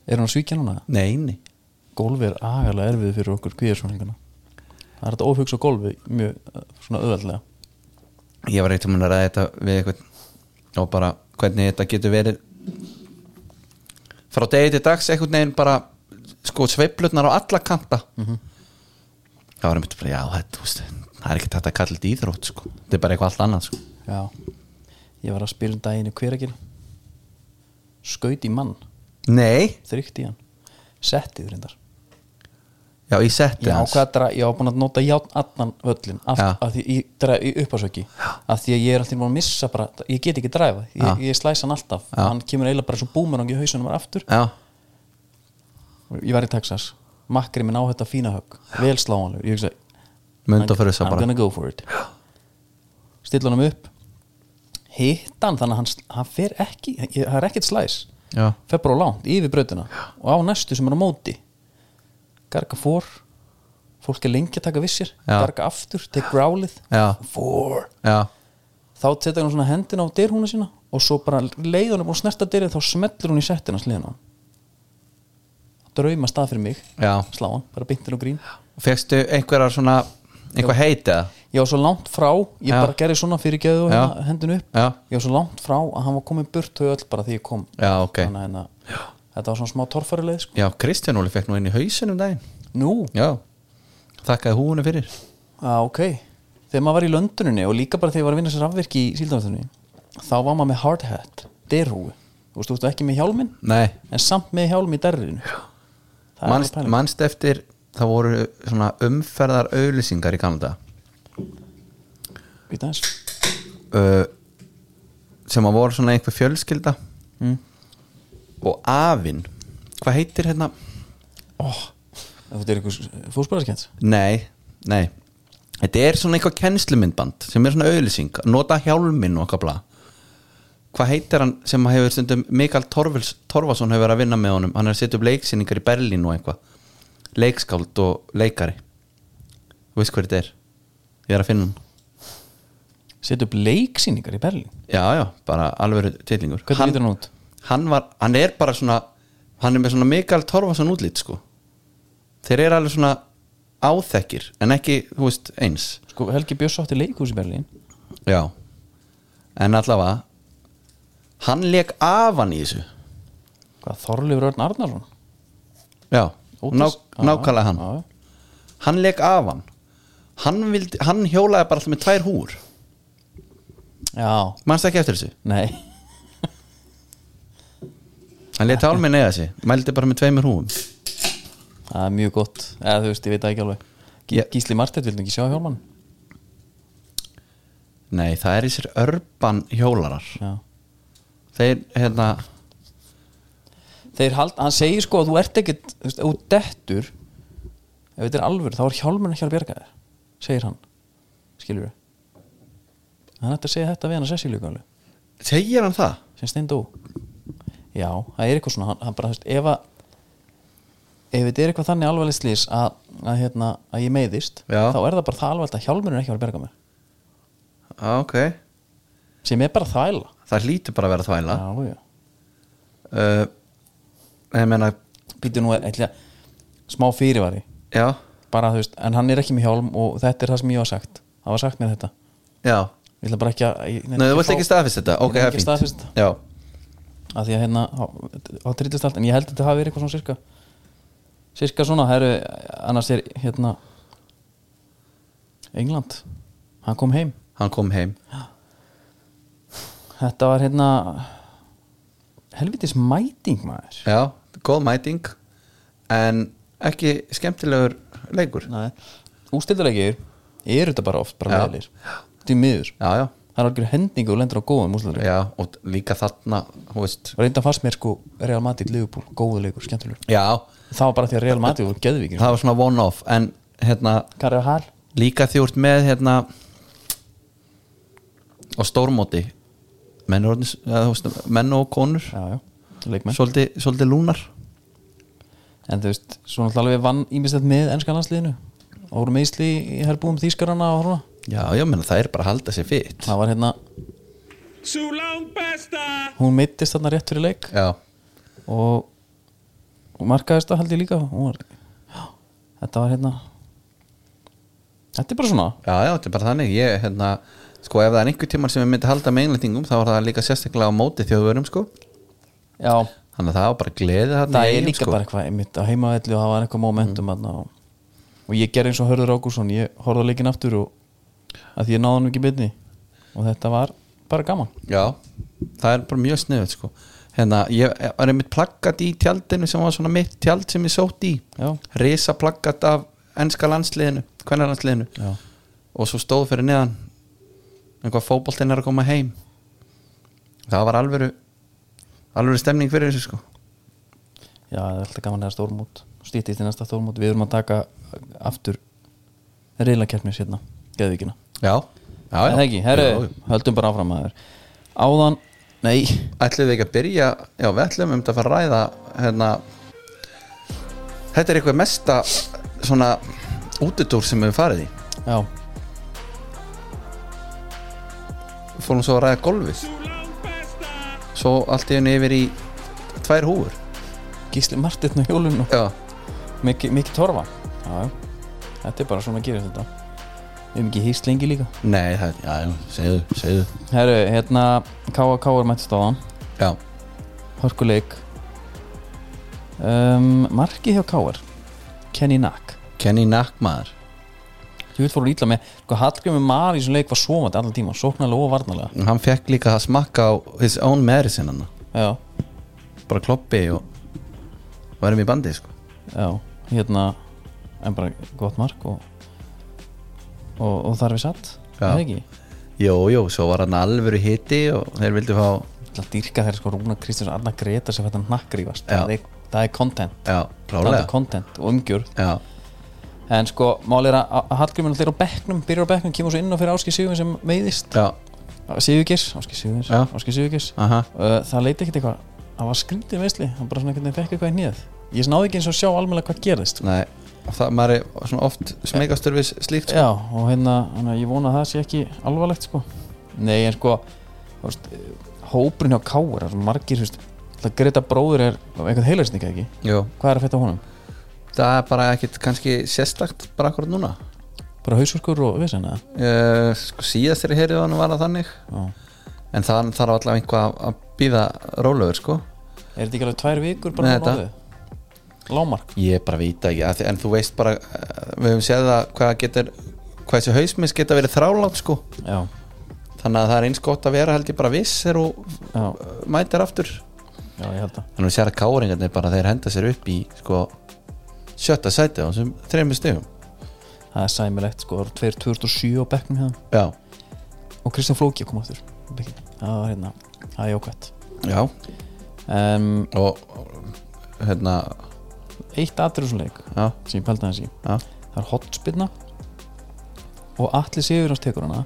Er hún að svíkja núna? nei, nei Golfi er agalega erfið fyrir okkur kvíðarsvoningana Það er þetta óhugsa golfi mjög eh, svona öðveldlega ég var eitthvað mun að ræða þetta við eitthvað og bara hvernig þetta getur verið frá degi til dags einhvern veginn bara sko sveiflutnar á alla kanta það var einmitt bara já þetta, þú veist, það er ekki þetta að kalla þetta íþrótt sko. þetta er bara eitthvað allt annað sko. Já Ég var að spila um daginn í hveragil Skaut í mann nei, Þrygt í hann Settið reyndar já ég setti Ég ákvað að dra- ég var búin að nota játn allan völlin Já. allt, að því ég dra í uppasöki að því að ég er alltaf búin að missa bara ég get ekki dræfa, ég, Já. ég slæsa hann alltaf Já. hann kemur eiginlega bara svo búmerang í hausunum var aftur já, ég var í Texas, makkri minn á þetta fína högg vel sláanlegur, ég hugsa mynd og fyrir þess I'm að bara gonna go for it stilla hann upp hitt hann þannig að hann, hann fer ekki ég, það er ekkert slæs já, fer bara á langt, yfir brautina og á næstu sem er á móti garga fór fólk er lengi að taka vissir Já. garga aftur, tek grálið Já. fór, já, þá setja hann svona hendina á dyrhúna sína og svo bara leið hann er búin að snerta dyrið þá smetlur hún í settina sliðina drauma stað fyrir mig já slá hann, bara byntin og grín fegstu einhverjar svona einhver heitið ég var svo langt frá, ég Já. bara gerði svona fyrir geðu og Já. hérna, hendin upp Já. ég var svo langt frá að hann var komin burt þau öll bara því ég kom já, ok, þannig að hérna, þetta var svona smá torfarileg sko. já, Kristján Óli fekk nú inn í hausinum daginn nú, já, þakkaði húnu fyrir Já, Ah, ok. Þegar maður var í lönduninni og líka bara þegar ég var að vinna sér afverki í síldanvættunni, þá var maður með hard hat, derhúi. Þú veist, þú veist ekki með hjálminn, nei, en samt með hjálm í derrinu. Já. Það er manst, alveg pæling. manst eftir það voru svona umferðar auðlýsingar í Kanada Býta eins. uh, sem að voru svona einhver fjölskylda Mm. og afinn hvað heitir hérna Þetta er eitthvað fósbæðarskjönd. nei, nei þetta er svona einhver kennslumyndband sem er svona auðlýsing, nota hjálminn og okkar bla hvað heitir hann sem hefur stundum Mikael Torfils, Torfason hefur verið að vinna með honum hann er að setja upp leiksýningar í Berlín og eitthvað leikskáld og leikari þú veist hver þetta er ég er að finna hann Sett upp leiksýningar í Berlín. Já, já, bara alvöru titlingur Hvernig hann, lítur hann út? hann, var, hann er bara svona Hann er með svona Mikael Torfason útlít sko. Þeir eru alveg svona áþekkir En ekki, þú veist, eins Sko, Helgi Björns átti leikhús í Berlín. Já En allavega Hann leik afan í þessu Hvað, Þorleifur Örn Arnarsson? Já, Ódís? ná, Já, nákvæmlega hann já. Hann leik afan hann, vildi, hann hjólaði bara alltaf með tvær húr Já, Manst ekki eftir þessu nei. Hann leik tálminn eða þessi Mældi bara með tveimur húum Það er mjög gott. Eða, þú veist, ég veit það ekki alveg. Gí- Ég- Gísli Marteit vildi ekki sjá hjálmann. Nei, það er þessir örban hjólarar Já. Þeir, hérna þeir hald, hann segir sko að þú ert ekkit þú veist, ef þú dettur ef þetta er alvöru, þá er hjálmurinn ekki að bjarga þér segir hann, skilur við hann ætti að segja þetta við hann að sessi líka alveg, Segir hann það? sem steindó já, það er eitthvað svona hann, hann bara, þú veist, ef að ef þetta er eitthvað þannig alvarlegt slís að, að, hérna, að ég meiðist Já. þá er það bara það alvarlegt að hjálmurinn er ekki að fara að bjarga mér Ah, ok sem er bara þvæla Það hlýtur bara að vera þvæla já, já uh, Ég meina, býtu nú eitthvað smá fyrirvari já bara þú veist, en hann er ekki með hjálm og þetta er það sem ég var sagt það var sagt mér þetta Já, Ég ætla bara ekki að ég- Nei, þú vilt ekki staðfist þetta? Ég Ok, það er er ekki fínt staðfest þetta. Já, að því að hérna á, á trítist allt en ég held að þetta hafi verið eitthvað svona sirka sirka svona, herru, annars er hérna England, hann kom heim hann kom heim þetta var hérna helvitis mæting maður Já, góð mæting En ekki skemmtilegur leikur Nei. ústildarleikir eru þetta bara oft bara Já. meðlir, því miður Já, já, það er algjör hendingu og lendur á góðum ústildarleik já Og líka þarna, þú veist reynda fannst mér sko Real Madrid Liverpool, góðu leikur, skemmtilegur Já, það var bara því að Real Madrid voru geðvíkir það var svona one-off En hérna, Karja Hall líka því úrt með hérna á stórmóti menn, er orðnir- eða, þú veist, menn og konur já, já, leikmenn svolítið, svolítið lúnar En þú veist, svona alltaf alveg vann ímislegt með ennska landsliðinu og voru meðsli í herbúum þýskarana og svona Já, já, menna það er bara að halda sér fyrt það var hérna, Sú lang besta! hún meittist þarna rétt fyrir leik Já, og, og markaðist það held ég líka hún var, já, þetta var hérna þetta er bara svona já, já, þetta er bara þannig ég, hérna, sko, ef það er einhver tímar sem ég myndi halda með einlætingum, þá var það líka sérstaklega á móti þjóðvörum, sko já, þannig að það var bara gleði þarna það í er Eyjum, líka sko. bara eitthvað einmitt á heimavelli og það var eitthvað momentum mm. og, og ég gerði eins og Hörður Ágúrsson ég horfði á leikinn aftur og að því ég náði hann ekki byrni og þetta var bara gaman Já, það er bara mjög sniðið sko. hérna, ég var einmitt plaggat í tjaldinu sem var svona mitt tjald sem ég sótt í Já. risa plaggat af enska landsliðinu, hvernig landsliðinu Já. og svo stóð fyrir neðan einhvað fótboltinn er að koma heim það var alvöru alvöru stemning fyrir þessu sko Já, það er alltaf gaman eða stórmót stýttist í næsta stórmót, við erum að taka aftur reylakeppnis hérna, geðvíkina Já, já, En það ekki, herru, Já, já. höldum bara áfram að áðan, nei Ætlum við ekki að byrja Já, við ætlum um þetta að fara að ræða hérna, Þetta er eitthvað mesta svona útidúr sem við höfum farið í já, Við fórum svo að ræða golfið Sú lang besta! Svo allt í henni yfir í tvær húfur gísli Martin á hjólun og Já, mikið miki torfa já, já, þetta er bara svona að gera þetta við erum ekki hýst lengi líka nei, það, já, já, segðu, segðu herru, hérna, K.A.K. er mættist áðan Já, hörkuleik um, markið hjá K.A.R. Kenny Knack Kenny Nackmaður Ég vil fóru ítla með sko, Hallgrimur Mar í þessum leik var svomandi allan tíma Sóknarlega og varnarlega Hann fekk líka að smakka á his own medicine hann Já, Bara kloppi og varum í bandi sko já, hérna En bara gott mark Og, og, og þar er við satt Já. Það ekki Jó, jó, svo var hann alvöru hiti og þeir vildu fá Það dýrka þeir sko Rúna Kristjáns Arna Greta sem þetta nakkrífast Já. það, er- það er content Já, Það er klálega content og umgjörð Já, En sko, máli er að að Hallgrimur náttúrulega er á bekknum Byrjar á bekknum, kemur svo inn á fyrir Áski Sigurvins sem meiðist já, Sigurgis, Áski Sigurvins Já. Áski Sigurgis aha Uh, það leiti ekkert eitthvað það var skrítið veisli, hann bara svona einhvern veginn fekk eitthvað í hnið ég náði ekki eins og sjá almennilega hvað gerðist sko. Nei, það, maður er svona oft smegastur við slíkt sko. já, og hérna, hérna ég vona að það sé ekki alvarlegt sko. nei, en sko þú veist, eh, hópurinn hjá Káur margir, þú veist, það Greta bróður er eitthvað heilarsninga ekki, Jú, hvað er að fætta honum? það er bara ekkit kannski sérstakt bara akkur núna bara hausverkur og vissin eða? uh, sko, Síðast þegar ég heyrið hann var það þannig Já. En það þarf allavega einhvað að- að býða rólegur sko er þetta ekki alveg tvær vikur Nei, bara þetta- mánuði? lámark Ég bara vita ekki, að, en þú veist bara eh, Við höfum séð það hvað getur Hvað þessi hausmis geta verið þrálátt sko já, Þannig að það er eins gott að vera held ég bara viss Þegar þú já, eh, mætir aftur já, ég held að Þannig að sér að káringarnir bara þeir henda sér upp í sko sjötta sæti á þessum þreymur stegum það er sæmilegt, sko, það eru tveir 2007 á bekknum hérna Já, og Kristján Flóki kom aftur á bekkinn. það var hérna, það er jókvætt já um, og og, hérna, eitt aðrjóðsleik já, sem ég pældi þessi Já. það er hotspilna og allir sigurins tekur hana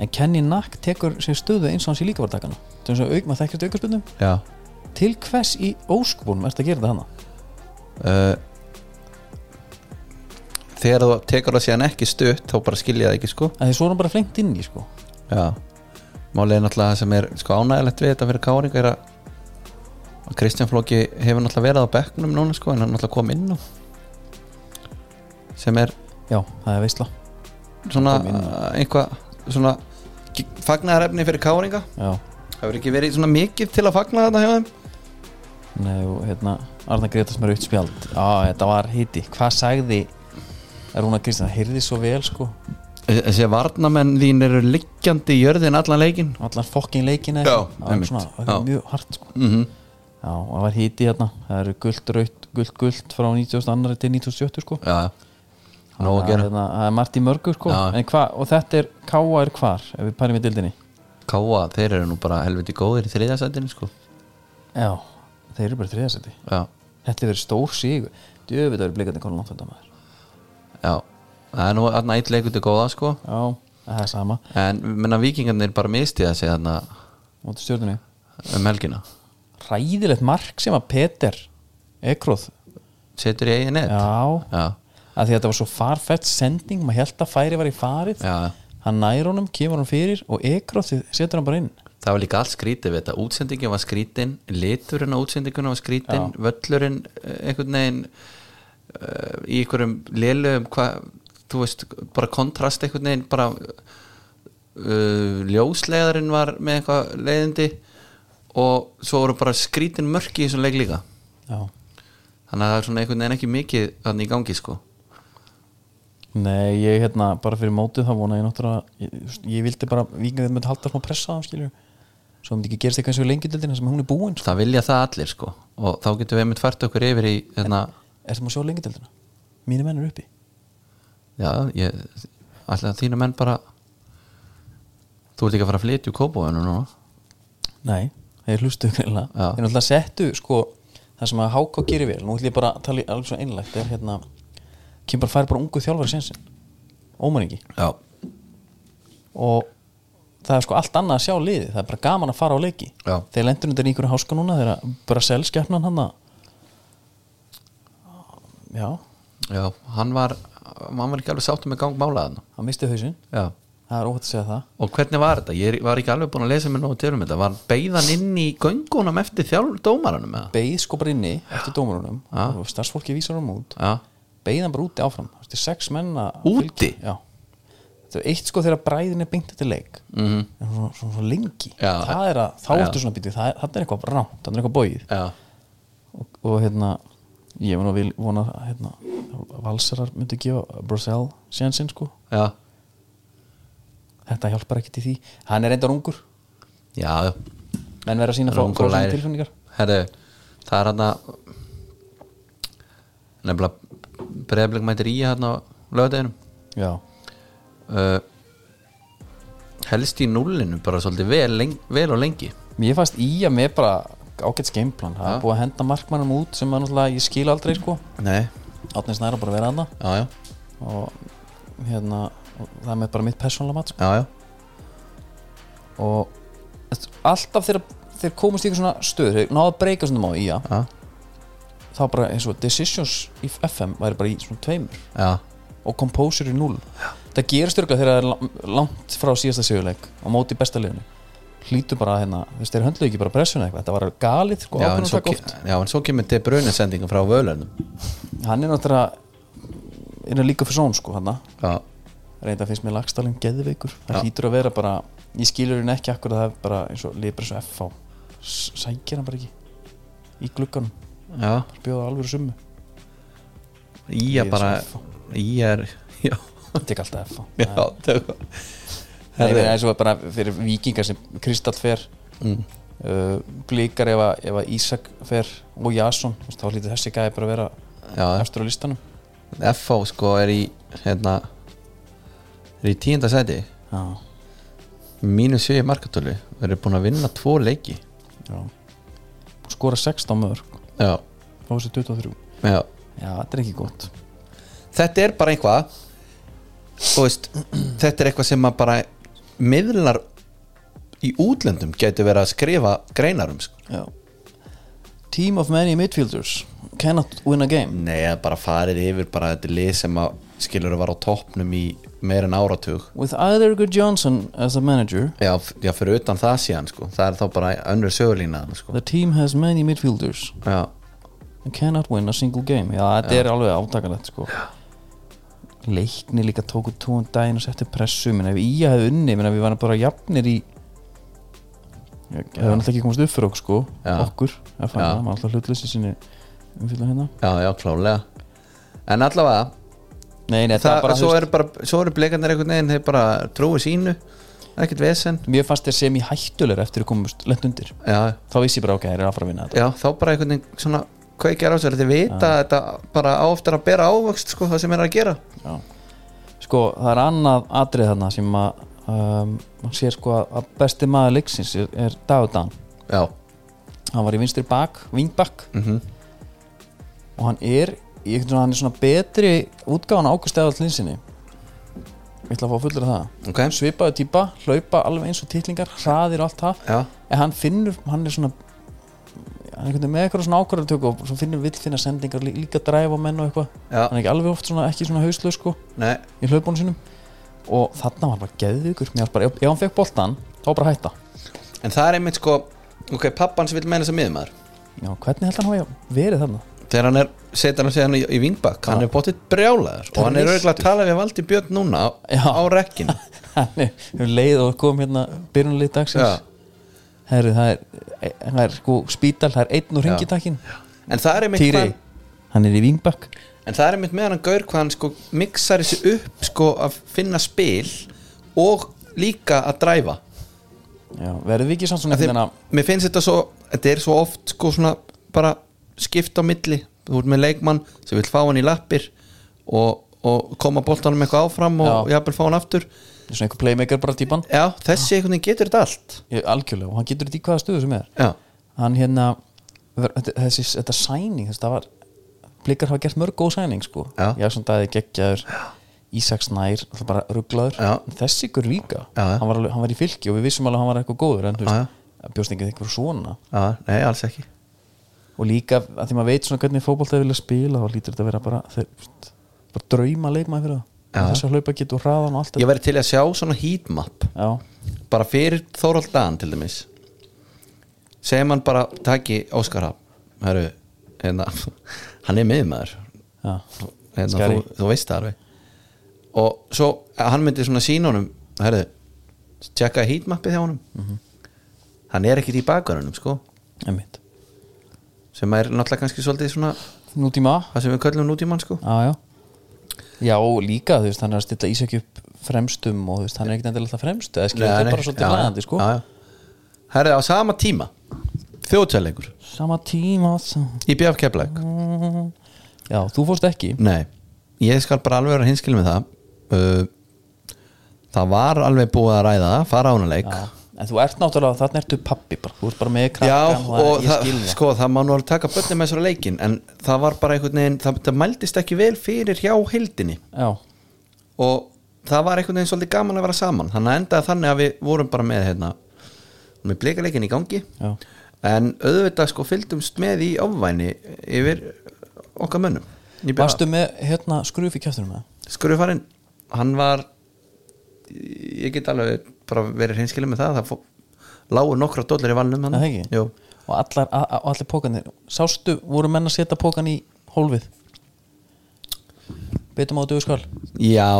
en Kenny Knack tekur sér stöðu eins og hans í líkavartakana það er svo auk, maður þekkjast aukarspilnum já til hvers í óskubunum ert að gera þetta hana uh, Þegar þú tekur það síðan ekki stutt þá bara skilja það ekki sko að því svo er hann bara flengt inn í sko Já, málið er náttúrulega það sem er sko ánægilegt við þetta fyrir káringa er að að Kristján Flóki hefur náttúrulega verið á bekknum núna sko en hann náttúrulega kom inn á sem er já, það er veistla svona Kom inn á. einhvað svona fagnaðarefni fyrir káringa já, Það verður ekki verið svona mikið til að fagna þetta hjá þeim nei og hérna Arna Gretas með rautt spjald á, þetta var hiti, hvað sagði Rúna Kristján, heyrði svo vel sko Þessi varnamenn þín eru liggjandi í jörðin allan leikin allan fokkin leikin Já, það var einmitt. svona, það var Já. Mhm. mjög hart sko já, og það var hiti hérna það eru gult, raut, gult, gult frá 92. til 97. sko Já, nóg að Það er gera hérna- það er margt í mörgu sko Já. En hva, og þetta er, káa er hvar ef við parum í dildinni Káa, þeir eru nú bara helviti góðir í þriðasætinu sko já, þeir eru bara þriðasæti Já, þetta er verið stór síg djöfitt eru blikandi konan langt þetta maður já Það er nú aðna eitt leikur til góða sko já, það er sama En menna vikingarnir bara misti þessi þarna móti stjórnunni um helgina ræðilegt mark sem að Peter Ekroð Setur í eigin net já, já, að því að þetta var svo farfætt sending maður held að færi var í farið já. hann nær honum, kemur hann fyrir og Ekroð setur hann bara inn Það var líka allt skrítið við þetta Útsendingin var skrítin, liturinn á útsendinguna var skrítin Völlurinn eh, einhvern veginn uh, Í einhverjum lélugum hvað, Þú veist, bara kontrast einhvern veginn Bara uh, Ljóslegarinn var með eitthvað leiðindi Og svo voru bara skrítin mörki í þessum leik líka já. Þannig að það er svona einhvern veginn ekki mikið Þannig í gangi sko nei, ég hérna, bara fyrir mótið þá vona ég náttúrulega ég, þú veist, ég vildi bara, vikingar myndi halda smá pressa á hann skilur svo myndi ekki gerist eitthvað eins og lengjudildin sem hún er búin sko. Það vilja það allir sko Og þá getum við einmitt fært okkur yfir í hérna, er það maður sjá lengjudildina? mínu menn eru uppi Já, ég Alltaf þínu menn bara Þú ert ekki að fara að flytja úr kópóinu núna Nei, þeir hlustu greinlega Já. Þeir náttúrulega settu sko það sem að HK gerir vel, nú ætlum ég bara að tala í alveg svo einlægt, er hérna kemur bara fær bara ungu þjálfari sinnsinn ómæringi Já, og það er sko allt annað að sjá liði það er bara gaman að fara á leiki Já. þeir lendur undir í einhverju háska núna þegar bara selskjafnan hann að já, já, hann var Hann var ekki alveg sáttum með gang málaðan hann misti hausinn Já, það er óhætt að segja það og hvernig var þetta? Ég er- var ekki alveg búin að lesa mér nógu til um þetta Var beigðan inn í göngunum eftir þjálf dómaranum eða? beigð sko bara inni eftir dómarunum Já. og starfsfólki vísar hann út Já, beigð hann bara úti áfram Þú veist, sex menn að Úti? fylgja. já það er eitt sko þegar bræðin er beint þetta leik mm -hmm. en svona, svona, svona lengi Mhm. Já. það er að, þá Já. ertu svona býtið það er, þarna er eitthvað rámt, það er eitthvað bóið já, og, og hérna, ég mun að vil vona að, hérna, valsarar myndi gefa Brussel sénsinn sko já þetta hjálpar ekkert í því, hann er reyndar ungur Já, já menn verða sína frá Rungur frá sínum læri. tilfinningar Herru, það er hann að Nefnilega Breiðablik mætir í hann á lögdeginum já, uh, helst í núllinu bara svolítið vel, leng, vel og lengi mér fannst í að með bara ágætt skeimplan, það er Já. búið að henda markmannum út sem að náttúrulega ég skil aldrei sko Nei, átnins næra bara að vera annað já, já, og hérna og það er með bara mitt persónlega mat sko. já, já. og þetta- alltaf þegar þeir komast í eitthvað svona stöð þeir náðu að breyka svona má í já Já. þá bara eins og Decisions í FM væri bara í svona tveimur já. og Composer í null það gerist örgulega þegar það er la- langt frá síðasta sigurleik á móti besta liðinu hlýtu bara hérna, þú veist, þeir höndlu ekki bara pressuna eitthvað, þetta var galið sko, en ákvörðun svo, að taka oft ke- já, en svo kemur til brunisendingum frá völunum hann er náttúrulega innan líka fyrir són sko, hann Já, reynda finnst mér lagstallin geðveikur það hlýtur að vera bara, ég skilur hún ekki akkur að það er bara eins og lifur eins og F á sækir hann bara ekki í glugganum, já, bara bjóða alvöru summu í Ég að er bara svo í er, já, hann tek alltaf F á já tökum. það er eins og bara fyrir vikingar sem Kristall fer Mm. uh, blikar ef að, ef að Ísak fer og Jason, þú veist, þá hlýtur þessi gæði bara að vera Já, eftir á listanum FH sko er í hérna, er í tíunda seti já, mínus 7 markatölu þeir eru búin að vinna tvo leiki já skora 16 mörg, já, fá þessi 23 já já, þetta er ekki gott þetta er bara einhvað þú veist, þetta er eitthvað sem að bara miðlunar í útlöndum getur verið að skrifa greinar um sko. Já. Team of many midfielders cannot win a game Nei, að bara farið yfir bara þetta lið sem að skilur að vara á toppnum í meir en áratug with either good Johnson as a manager Já, f- já fyrir utan það síðan sko. það er þá bara önnur sögulína þarna, sko. the team has many midfielders Já, and cannot win a single game Já, þetta er alveg átakalegt sko leikni líka tóku tóan daginn og setti pressu minna, ef ég hefði unni, minna, við varum bara jafnir í það var náttúrulega ekki komast upp fyrir okkur sko, Já. okkur, að fann Já. það, maður alltaf hlutlust í sinni umfylgja hérna já, já, klálega En allavega, nei, nei, það, það, bara, svo, þú er bara, svo eru blikarnir einhvern veginn, þeir bara trúi sínu ekkert vesen veist mér fannst þér sem í hættulegur eftir að komast lent undir, já, þá vissi ég bara ok, það er að fara að vinna þetta já, þá bara einhvern veginn svona kveikjar á sér, þeir vita að þetta bara á eftir að bera ávöxt sko, það sem er að gera Já. sko það er annað atrið þarna sem að um, mann sér sko að besti maður leiksins er, er Dagur Dan já, hann var í vinstri bak, vingbak Mhm. og hann er ég veit hann er svona betri útgáðan águst eða allir sinni ég ætla að fá fullur af það ok svipaðu típa, hlaupa alveg eins og titlingar hraðir og allt það já, en hann finnur, hann er svona hann er einhvern veginn með eitthvað svona ákvarðartöku og svo finnur vill finna sendingar lí, líka dræf og menn og eitthvað já, hann er ekki alveg oft svona, ekki svona hauslu sko nei í hlaupunum sínum og þarna var bara geðvíkur mér var bara, ef hann fekk boltan, þá bara hætta en það er einmitt sko, ok, pappans vil meina sem miðumæður já, hvernig held hann hafa verið þarna þegar hann er, setur hann sér hann í, í vingbak hann er bóttið brjálaður og hann er Tristur. auðvitað að tala við Valdi Björn núna á, Já. á rekkinu hann er hefur leið og kom hérna byrjunlið Já. dagsins Heru, það, er, e- það er sko spítal það er einn úr ringitakkin en það er einmitt Týri, hvað- hann er í vingbakk En það er einmitt með hann gaur hvað hann sko mixar þessu upp sko að finna spil og líka að dræfa já, verðum við ekki samt svona Af því, þeim... Mér finnst þetta svo, þetta er svo oft sko svona bara skipt á milli þú ert með leikmann sem vil fá hann í lappir og, og koma boltanum eitthvað áfram og Já. jafnvel fá hann aftur svona einhver playmaker bara típan Já, þessi einhvern veginn getur þetta allt Ég- algjörlega, og hann getur þetta í hvaða stöðu sem er Já, hann hérna ver- þetta- þessi, þetta sæning þessi, það var, blikar hafa gert mörg góð sæning sko, Já. Jason Dæði geggjaður Ísaks nær, alltaf bara rugglaður Já. En þessi ykkur líka, Já, já. hann, var alveg, hann var í fylki og við vissum alveg að hann var eitthvað góður en þú Já, já. veist, að bjóst enginn eitthvað svona já, nei, alls ekki og líka að því maður veit svona hvernig fótbolta er vilja spila þá lítur þetta að vera bara, þeir, veist, bara drauma leikmaði fyrir Já. það þess að hlaupa getur hraðan og allt Ég þetta væri til að sjá svona heatmap já, bara fyrir Þórald Dan til dæmis segjum hann bara taki Óskar Hafn Heru, hérna, hann er miðmaður já, hérna, Skari. þú, þú veist það alveg og svo að hann myndi svona sína honum herðu, tjekka heatmapið hjá honum Mhm. hann er ekkert í bakvörunum sko einmitt sem er náttúrulega kannski svolítið svona nútíma, það sem við köllum nútímann sko Já, já Já, og líka, þú veist, hann er að stilla Ísak upp fremstum og þú veist, hann er ekkert endilega alltaf fremstu eða skilur Nei, þetta er nei, bara svolítið já, glæðandi, sko já, já. herðu, á sama tíma þjóðtjæleikur Sama tíma sem... í BF Keflæk Já, þú fórst ekki Nei, ég skal bara alveg vera hinskil með það uh, Það var alveg búið að ræða það fara ánaleik já. En þú ert náttúrulega, þarna ertu pappi bara, þú ert bara með Já, krakkan og ég það, skil það sko, það má nú alveg taka börnum með þessara leikin en það var bara einhvern veginn það, það mældist ekki vel fyrir hjá heildinni Já, og það var einhvern veginn svolítið gaman að vera saman þannig að endaði þannig að við vorum bara með hérna, með blikaleikin í gangi já, en auðvitað sko fylgdumst með í ofvæni yfir okkar mönnum Ég bara- varstu með, hérna, skruf í kjæftunum með Skrufarinn, hann var ég get alveg bara verið hreinskilið með það það fó, lágu nokkra dólar í valnum hann Nei, það ekki? Jú, og allar, a, a, allir pókanir Sástu, voru menn að setja pókan í hólfið Betum á dögskal Já,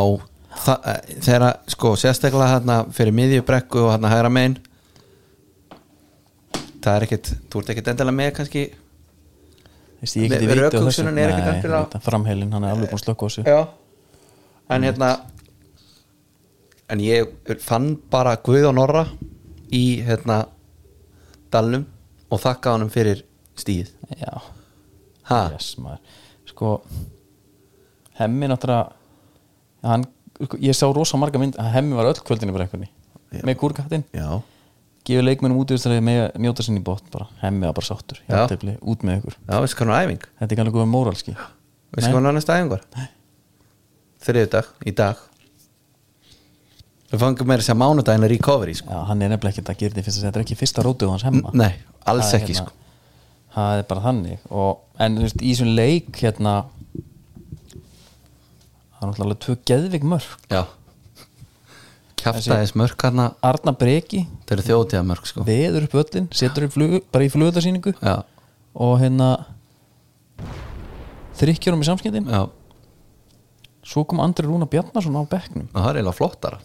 það, þegar að, sko sérstaklega hérna fyrir miðjubrekku og hérna hægra megin það er ekkit, þú ert ekkit endilega með kannski Veist, ég geti Ver- vitið á þessu rökhugsunin er Nei, ekkert algjörlega- þetta framheilin, hann er alveg búin að slökka á þessu Já En hérna En ég fann bara Guð og Norra í hérna dalnum og þakka honum fyrir stíð Já, ha, yes maður Sko Hemmi náttúrulega hann, sko, Ég sá rosa marga mynd að Hemmi var öll kvöldinu bara einhvernig Já. Með kúrkattinn, Já, gefur leikmennum útíðustræði með að njóta sinni í bótt bara Hemmi var bara sáttur, Já. hjáttifli, út með ykkur já, veistu hvað hann er æfing Þetta er ekki alveg góð móralski Veistu Nei. hvað hann er næsta æfing var Þriðu dag, í dag Við fangum meira sem mánudaginn er recovery sko. Já, hann er nefnilega ekki að gera þetta í fyrsta Þetta er ekki fyrsta rótið á hans hemma Nei, alls Það er ekki hérna- sko. það er bara þannig og, en þú veist, í þessum leik hérna það er náttúrulega alveg tvö geðvik mörg Já Kjaftaðis mörk hann Arna Breki, Þeir eru þjóðtíða mörk sko. veður upp völlin setur upp flug, bara í flugutarsýningu Já, og hérna þrykkjur um í samskiptin já svo kom Andri Rúna Bjarnason á bekknum það er eiginlega flottara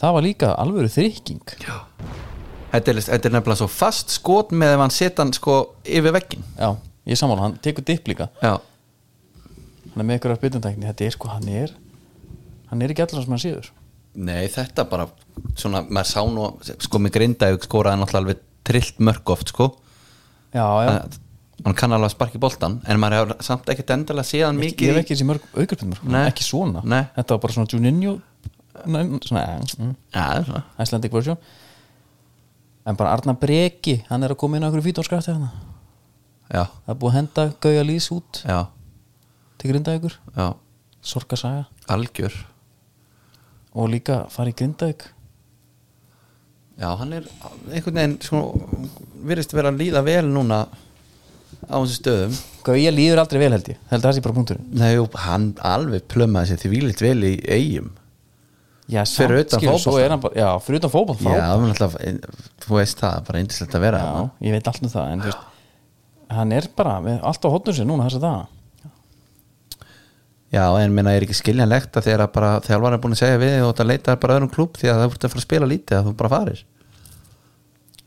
það var líka alvöru þrykking þetta er, þetta er nefnilega svo fast skot með ef hann setja hann sko yfir veggin já, ég er sammála, hann tekur dipp líka já, hann er með ykkur að bytundækni, þetta er sko, hann er hann er ekki allar sem hann síður nei þetta bara svona, maður sá nú, sko með grindaug skoraði náttúrulega alveg trillt mörg oft sko já, já, Að- hann kann alveg að sparki boltan en maður hefur samt ekkert endilega síðan ég mikið hef í- ekki þessi mörg aukurpinnar, Nei. ekki svona Nei. þetta var bara svona Juninho nei, svona, mm, Já, það er svona. Icelandic version en bara Arna Breki, hann er að koma inn á einhverju fítórskræfti hann það já, er búið að henda Gauja Lýs út já, til Grindavíkur, já, Sorgasaga algjör og líka fara í Grindavík já, hann er einhvern veginn svona, virðist vera að líða vel núna á þessu stöðum Gauja líður aldrei vel held ég, held það sé bara punkturinn Nei, jú, hann alveg plömmaði sér því vílitt vel í eigum já, Fyrir utan skilur, svo fótbolta. er hann bara- já, fyrir utan fótball Já, það var náttúrulega, þú veist það, bara eindislegt að vera Já, þarna. ég veit allt um það en þú veist, hann er bara með allt á hotnum sér núna þess að það já en minna er ekki skiljanlegt að þegar að bara þjálfar er búin að segja við þig og þetta leita bara öðrum klúb því að það voru að fara að spila lítið að þú bara farir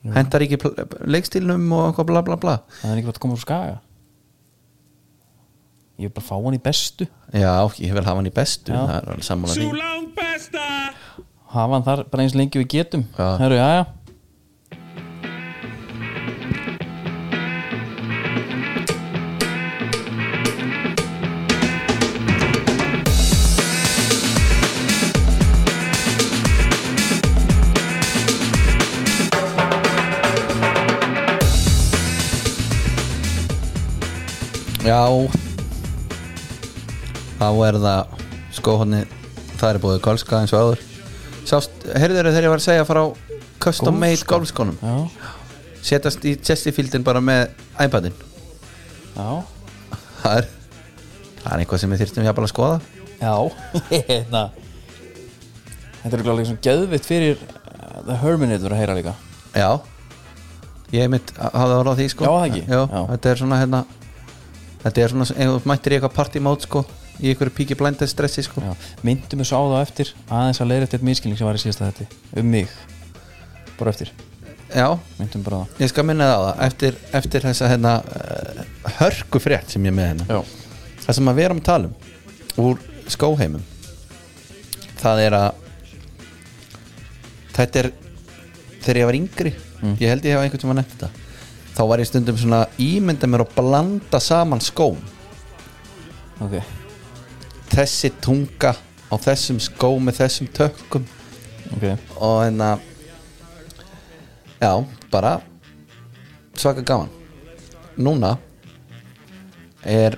Hentar ekki pl- leikstílnum og eitthvað bla bla bla hann er ekki bara að koma úr skaga ég vil bara fá hann í bestu Já, ég vil hafa hann í bestu Já. Það er alveg sammála því Sú langt besta! hafa hann þar bara eins lengi við getum Já. Heru, já, já. Já Þá er það skóhóðni Það er búið golfska eins og áður Sást, heyrður þegar ég var að segja frá Custom made golfskonum Já, Setjast í chestifieldin bara með iPadin já, Það er Það er eitthvað sem við þyrstum jafnvel að skoða já. Hérna. þetta er glálega svona geðvitt fyrir uh, The Herminator að heyra líka Já Ég mitt hafði orðað því sko Já, það ekki. Já, Já. Þetta er svona hérna Þetta er svona eða þú mættir í eitthvað partymót sko Í einhverju píki blindað stressi sko já. myndum við sá það eftir aðeins að leiðrætt eitt miskilning sem var í síðasta þetta um mig, bara eftir Já, myndum bara það Ég skal minna það á það eftir, eftir þessa hérna, uh, hörku frétt sem ég er með hérna já. Það sem að við erum að tala um úr skóheimum Það er að Þetta er Þegar ég var yngri Mm. Ég held ég hefa einhvern tíma nefnt þetta Þá var ég stundum svona að ímynda mér að blanda saman skóm ok, Þessi tunga á þessum skó með þessum tökum ok og hérna já, bara svaka gaman núna er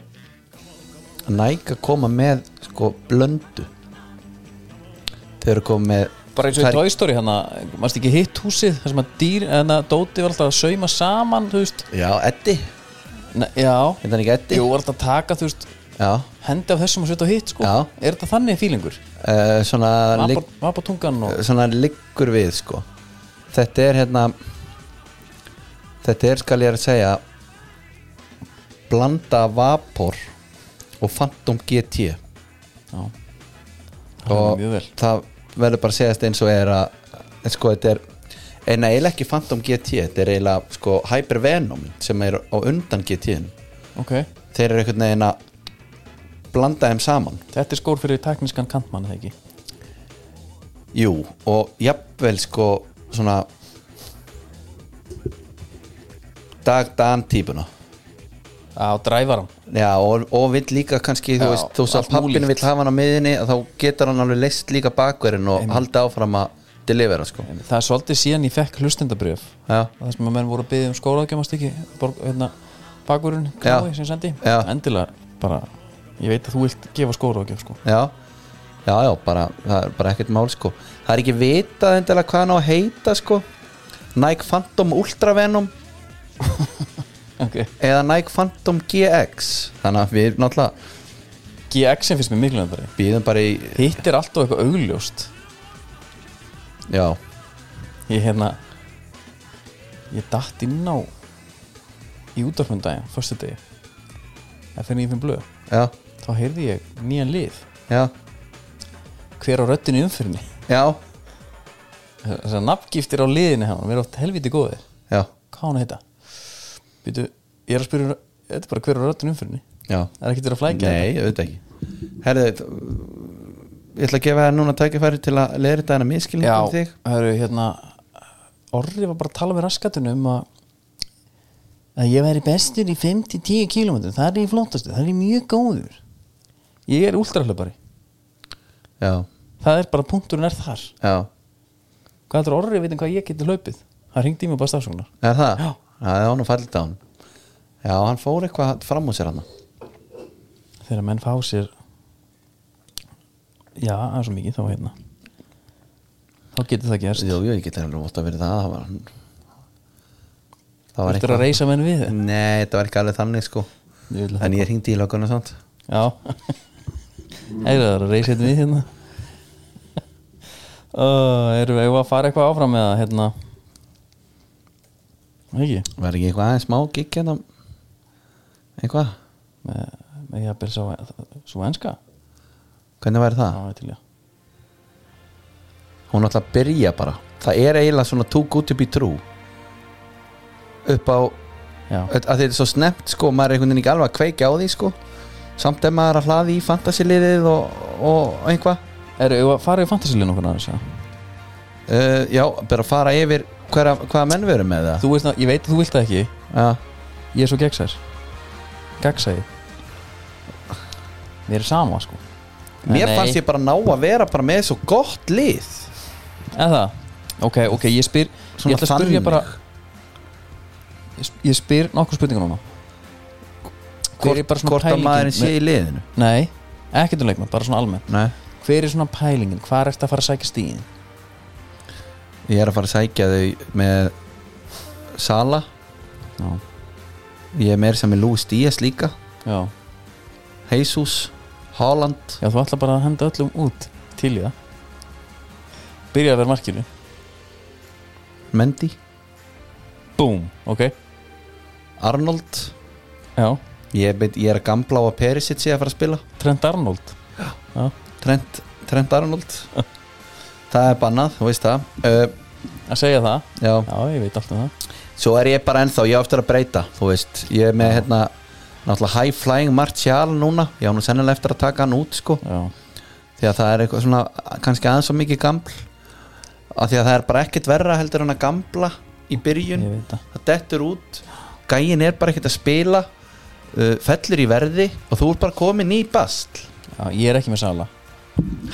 Nike að koma með sko blöndu þau eru komið með bara eins og í þær- Toy Story hann að mannst ekki hitt húsið þar sem að dýr en að Dóti var alltaf að sauma saman þú veist já, Eddi, ne, já hérna er ekki Eddi jú var alltaf að taka þú veist já, hendi af þessum og setja á hitt sko Já. er þetta þannig fílingur uh, svona, ligg, var bara tungan og svona liggur við sko þetta er hérna þetta er skal ég að segja blanda vapor og Phantom GT já það er og mjög vel það verður bara að segjast eins og er að en sko þetta er en eiginlega ekki Phantom GT þetta er eiginlega sko Hyper Venom sem er á undan GT -inu. ok þeir eru einhvern veginn að blanda þeim saman þetta er skór fyrir teknískan kantmann eða ekki jú og jafnvel sko svona dag dan típuna á drævaran Já, og, og vill líka kannski, þú Já, veist, þú veist að allt pappin múlíkt. vill hafa hann á miðinni að þá getur hann alveg leist líka bakverðin og halda áfram að delivera, sko. það er svolítið síðan ég fekk hlustendabrjöf Já, það sem að menn voru að byggja um skóraðgjöfast ekki borg, hérna, bakvörun Já. knái sem sendi Já. endilega bara ég veit að þú vilt gefa skóraðgjöf sko já, já, já bara, það er bara ekkert mál sko það er ekki vitað endilega hvað hann á að heita sko Nike Phantom Ultra Venom ok eða Nike Phantom GX þannig að við náttúrulega GX-in finnst mér miklu nefndari býðum bara í Hitt er alltaf eitthvað augljóst já, Ég hérna Ég datt inn á Í um útvarpundaginn, förstu degi Að finna ég finn blöð já, Þá heyrði ég nýjan lið já, hver á röddinu í umfyrinni já, þessar nafngiftir á liðinu hann við erum oft helviti góðir já, hvað á hann að heita Býtu, ég er að spyrja um þetta er bara hver á röddinu í umfyrinni já. það er ekkert verið að flækja þetta. Nei, ég veit ekki Herði, þ- ég ætla að gefa þér núna tækifæri til að leira þetta hana miskilningum Já, þig hörru, hérna Orri var bara að tala við raskatunum um að að ég væri bestur í 5-10 km það er ég flottastu, það er ég mjög góður ég er últrahlaupari Já, það er bara punkturinn er þar já, hvað heldur Orri að vita hvað ég geti hlaupið það ringdi í mig bara stafsóknar er það? Já. það var nú fallit á hann Já, hann fór eitthvað fram úr sér hann þegar menn fá sér já, það er svo mikið þá hérna þá getur það gerst Jú, jú, ég get alveg vótt að vera það Það var, það var Þetta er að reysa menn við Nei, þetta var ekki alveg þannig sko Ég vil að- En ég hringdi í lögguna samt Já Það er að reysa þetta við hérna uh, Erum við eigum við að fara eitthvað áfram með það hérna Ekki Var ekki eitthvað aðeins smá gikk hérna Eitthvað? Með, með ég að byrja svo, svo enska Hvernig væri það? Já, ég til já hún ætla að byrja bara það er eiginlega svona too good to be true upp á Já, að að þetta er svo snemt sko maður er einhvern veginn ekki alveg að kveikja á því sko samt ef maður er að hlaði í fantasiliðið og, og einhvað erum við að fara í fantasílun okkur aðeins já? uh, já, bara fara yfir hverja, hvaða menn við erum með það Þú veist það, ég veit að þú vilt það ekki já, Ég er svo gegnsær Gegnsæði Mér er sama sko mér Nei. fannst ég bara ná að vera bara með svo gott lið Eða það? Ok, ok, ég spyr Ég ætla að spyrja bara Ég sp- Ég spyr nokkur spurningar núna Hver er bara hvort, svona hvort að pælingin maðurinn sé með- í liðinu Nei, ekkert um leikmann, bara svona almennt Nei. Hver er svona pælingin, hvað ertu að fara að sækja stíðin? ég er að fara að sækja þau með Sala Já, ég er meira sem með Lúi Stías líka já, Jesus, Haaland já, þú ætla bara að henda öllum út til í það Byrja að vera markinu Mendy, Búm, ok, Arnold já, ég, beit, ég er að gamla á að Perisic sé að fara að spila Trent Arnold Trent, Trent Arnold það er bannað, þú veist það uh, Að segja það, já. já, ég veit allt um það svo er ég bara ennþá, ég á eftir að breyta þú veist, ég er með hérna náttúrulega high flying Martial núna ég á nú sennilega eftir að taka hann út sko Já, því að það er eitthvað svona kannski aðeins svo mikið gaml af því að það er bara ekkert verra heldur hann að gamla í byrjun ég veit það það dettur út gæin er bara ekkert að spila uh, fellur í verði og þú ert bara komin í bastl Já, ég er ekki með Sala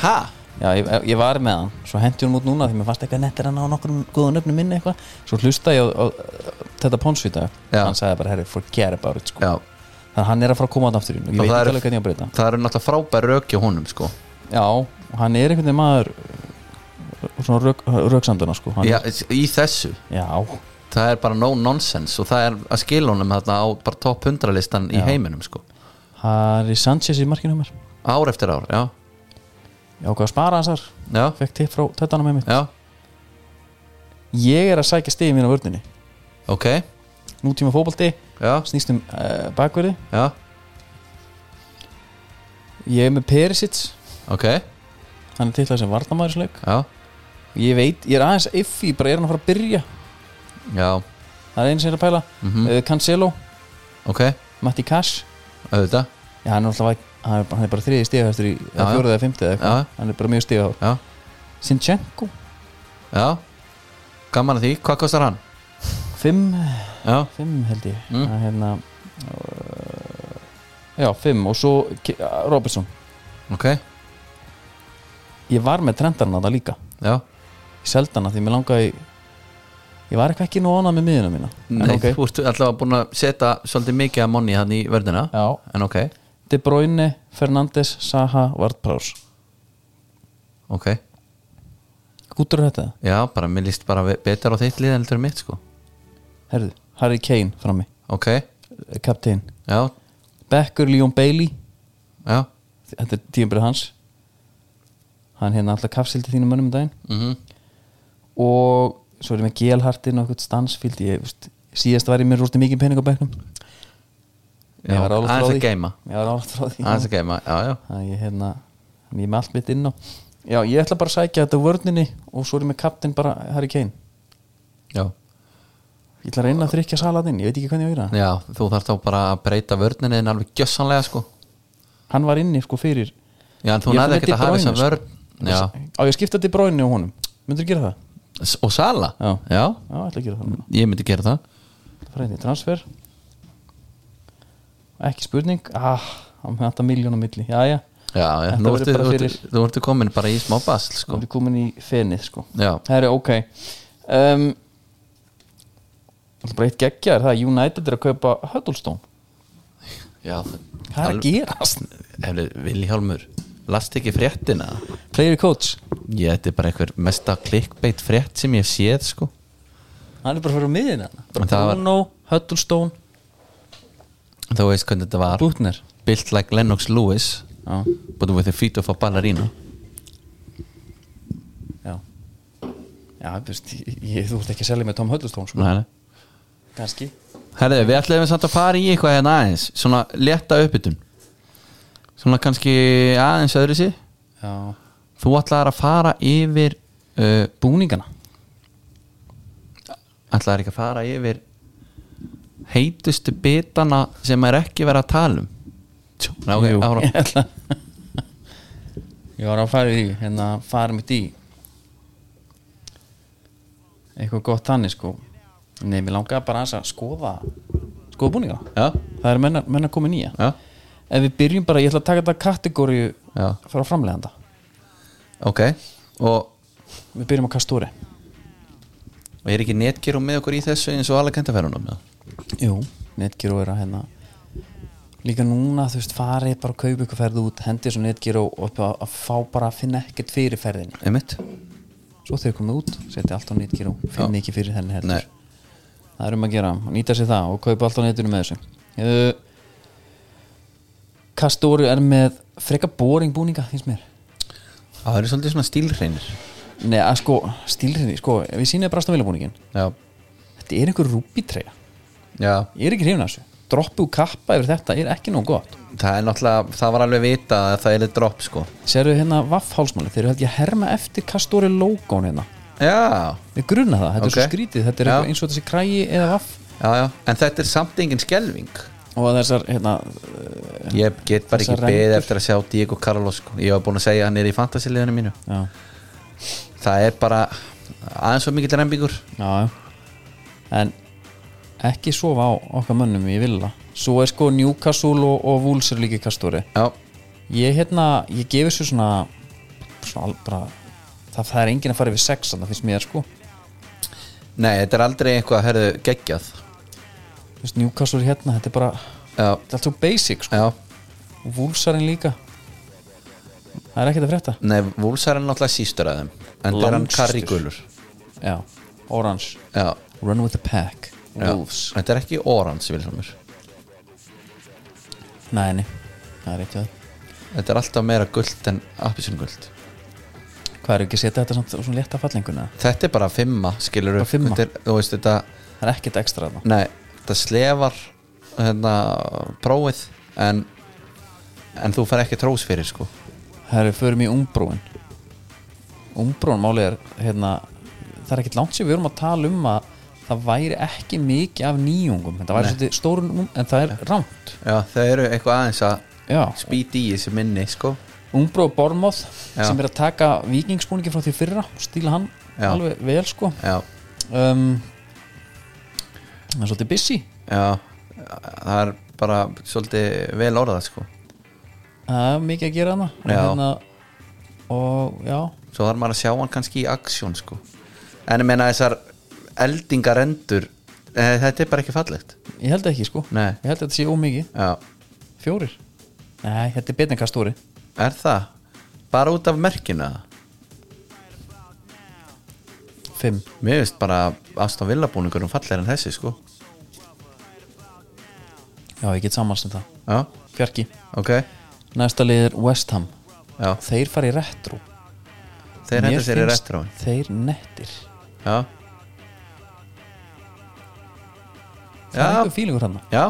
ha? Já, ég, ég var með hann, svo hendi hún út núna því mér fannst eitthvað nettir hann á nokkrum góðan öfnum minni eitthvað, svo hlusta ég á, á, á þetta ponsvita, Já. hann sagði bara herri, forget about it, sko, já, þannig að hann er að fara að koma hann aftur inn, og ég Og veit það ekki er- alveg hvernig ég á að breyta það eru náttúrulega frábær rökja honum sko Já, og hann er einhvern veginn maður uh, svona rök, röksamdana, sko hann, já, í þessu, já, það er bara no nonsense og það er að skila honum þarna á bara topp 100 listan í Já. heiminum sko Harry Sanchez í markinu mér ár eftir ár, já ég ákvað að spara hans þar, já, fekk tipp frá tettanum með mitt já, Ég er að sækja stigið mín á vörninni ok nútíma fótbolti, já, snýstum uh, bakverði já, ég er með Perisic, ok já, hann er titlað sem varnamæðursleik ég veit, ég er aðeins iffi, bara er hann að fara að byrja já, það er eins sem ég er að pæla mm Mhm. Cancelo, ok Matti Cash auðvitað, já, hann er alltaf að, hann er bara, hann er bara þriði stíðhæstur í eða Já, já. fjóruði eða fymtið eða Já, já. eitthvað, hann er bara mjög stíðhár já, Sinchenko, já gaman að því, hvað kostar hann? fimm já, fimm held ég Mm. mm. hérna, uh, já, fimm og svo Ki- Robertson ok, ég var með trendarna það líka já ég seldi hana því mér langaði ég var eitthvað ekki nú ánað með miðina mína En Nei, Mm, ok. þú ert allavega búin að setja svolítið mikið að monni hann í verðina já, en ok, De Bruyne, Fernandes, Saha, Vardprás ok gútur þetta, já, bara mér líst bara ve- betur á þitt lið en heldur mitt sko herðu, Harry Kane frammi, eh, ok, kaptein já, Becker, Leon Bailey já þetta er tíumbrið hans hann hérna alltaf kafsildi þínum mönnum um daginn mm og svo er ég með gelhartin og eitthvað stansfíld ég, veist, síðast var ég með rústi mikið pening á bekknum Já, ég var álagt frá aðeins að því geima. ég var álagt frá því aðeins að geima, já, já Að ég hérna en ég er með allt mitt inn á já, ég ætla bara að sækja þetta vörninni og svo er ég með kaptinn bara Harry Kane já, ég ætla að reyna að þrykja salatinn, ég veit ekki hvernig ég verða já, þú þarft þá bara að breyta vörninni en alveg gjössanlega sko hann var inni sko fyrir já, en þú Ég fór næði ekkert með að De hafa þessa Bruyne, vörn já, á ég að skipta til bráinu og honum, myndur gera það? S- og Sala Já. já, já, ég ætla að gera það núna. ég myndi gera það fræði transfer ekki spurning ah, hann með þetta miljónum milli já, já, já, já, Þetta nú verður ertu, bara þú ertu, fyrir- þú ertu komin bara í smá basl sko. sko hann er komin í fenið sko já, það er ok um, Það er bara eitt geggjar það að United er að kaupa Huddlestone já Hvað er að gerast? Hefðu, Viljálmur, last ekki fréttina Player coach ég, þetta er bara einhver mesta clickbait frétt sem ég hef séð sko Hann er bara fyrir á miðin hann En það var- Bruno, Huddlestone, þú veist hvernig þetta var Butner built like Lennox Lewis Já, but with the feet of a ballerina já Já, best, ég, ég, þú ert ekki að selja með Tom Huddlestone sko. Nei, nei. Kanski herðu, við ætlum samt að fara í eitthvað hérna aðeins svona leta uppbytun svona kannski aðeins öðru sér Já, þú ætlar að fara yfir uh, búningana ætlar ekki að fara yfir heitustu bitana sem er ekki verið að tala um Tjú, Ná, okay, Jú. ára, Ég ætla- Ég var að fara í því hérna fara mitt í eitthvað gott þannig sko Nei, mér langaði bara aðeins að skoða skoða búningana já, það er menna, menna komið nýja já, ef við byrjum bara, ég ætla að taka þetta kategóriu já frá framleganda, ok, og, við byrjum á Kastóri og er ekki netgerum með okkur í þessu eins og alla kentaferðunum já, jú, netgyró er að hérna líka núna, þú veist, farið bara að kaupa ykkur ferð út, hendið svo netgyró og bara að fá bara að finna ekkert fyrir ferðinni einmitt svo þegar komið út, setja allt á netgyró finna ekki fyrir henni heldur Nei. það er um að gera, að nýta sér það og kaupa allt á netinu með þessu uh, Kastóri er með freka boring búninga, finnst mér það eru svolítið svona stílhreinir Nei, að sko, stílriði, sko, ef ég sýnið brasta viljabúningin já, þetta er einhver rúbítreja já ég er ekki hrifin af þessu droppu og kappa yfir þetta er ekki nóg gott það er náttúrulega, það var alveg vita að það er drop sko sérðu hérna vaffhálsmáli þeir eru held ég að herma eftir kastóri logo'n hérna já, við grunna það, þetta er svo Ok. skrítið þetta er Já. eitthvað eins og þessi kræi eða vaff já, já, en þetta er samt engin skelving og þessar, hérna, ég get bara Þessar ekki beðið rendur. eftir að sjá Diego Carlos sko. ég hef búin að segja að hann er í fantasiliðinu mínu já, það er bara aðeins svo mikill rembingur já já. en ekki sofa á okkar mönnum í villa svo er sko Newcastle og, og Wolves er líka í kastóri já, ég hérna, ég gefi þessu svona svona al- bara það, það er enginn að fara yfir sex þannig finnst mér sko nei, þetta er aldrei eitthvað að herðu geggjað Þú veist, Newcastle er hérna, þetta er bara þetta já, er allt svo basic sko já, og Wolfsarinn líka það er ekkert að frétta nei, Wolves er hann náttúrulega sístur að þeim en það er hann Langstur. karrigulur já, Orange, já, Run with the Pack já, Wolves, þetta er ekki orans Vilhelmur, nei, nei það er eitthvað, þetta er alltaf meira guld en appisun guld hvað er ekki að setja þetta samt og svona létta fallinguna, þetta er bara fimma, skilur Bara fimma. þetta er, þú veist, þetta það er ekkert ekstra þarna Nei, þetta slefar hérna, prófið en, en þú fær ekki trós fyrir sko það er, förum í umbrúin umbrúin málið er hérna, það er ekkert langt sem við erum að tala um að það væri ekki mikið af nýjungum, þetta væri svolítið stórun um- en það er rámt, Já, það eru eitthvað aðeins að já spýti í þessu minni sko Umbró Bormoth Já. sem er að taka vikingsbúningi frá því fyrra og stíla hann Já. alveg vel sko Já, um, það er svolítið busy já það er bara svolítið vel orðað sko það er mikið að gera hana og, Já. og já, svo þarf maður að sjá hann kannski í aksjón sko en ég meina þessar eldingarendur eh, þetta er bara ekki fallegt ég held ekki sko Nei. ég held að þetta sé ómikið, Já, fjórir nei, þetta er betur en kastóri er það? Bara út af merkina? fimm, Mér veist bara Aston Villa búningur um fallegir en þessi sko já ég get sammálst um það Já, fjarki, ok næsta lið er West Ham Já, þeir fara í retro þeir hendur Mér sér í finnst retróin þeir nettir, Já það er Já, einhver fílingur hann já,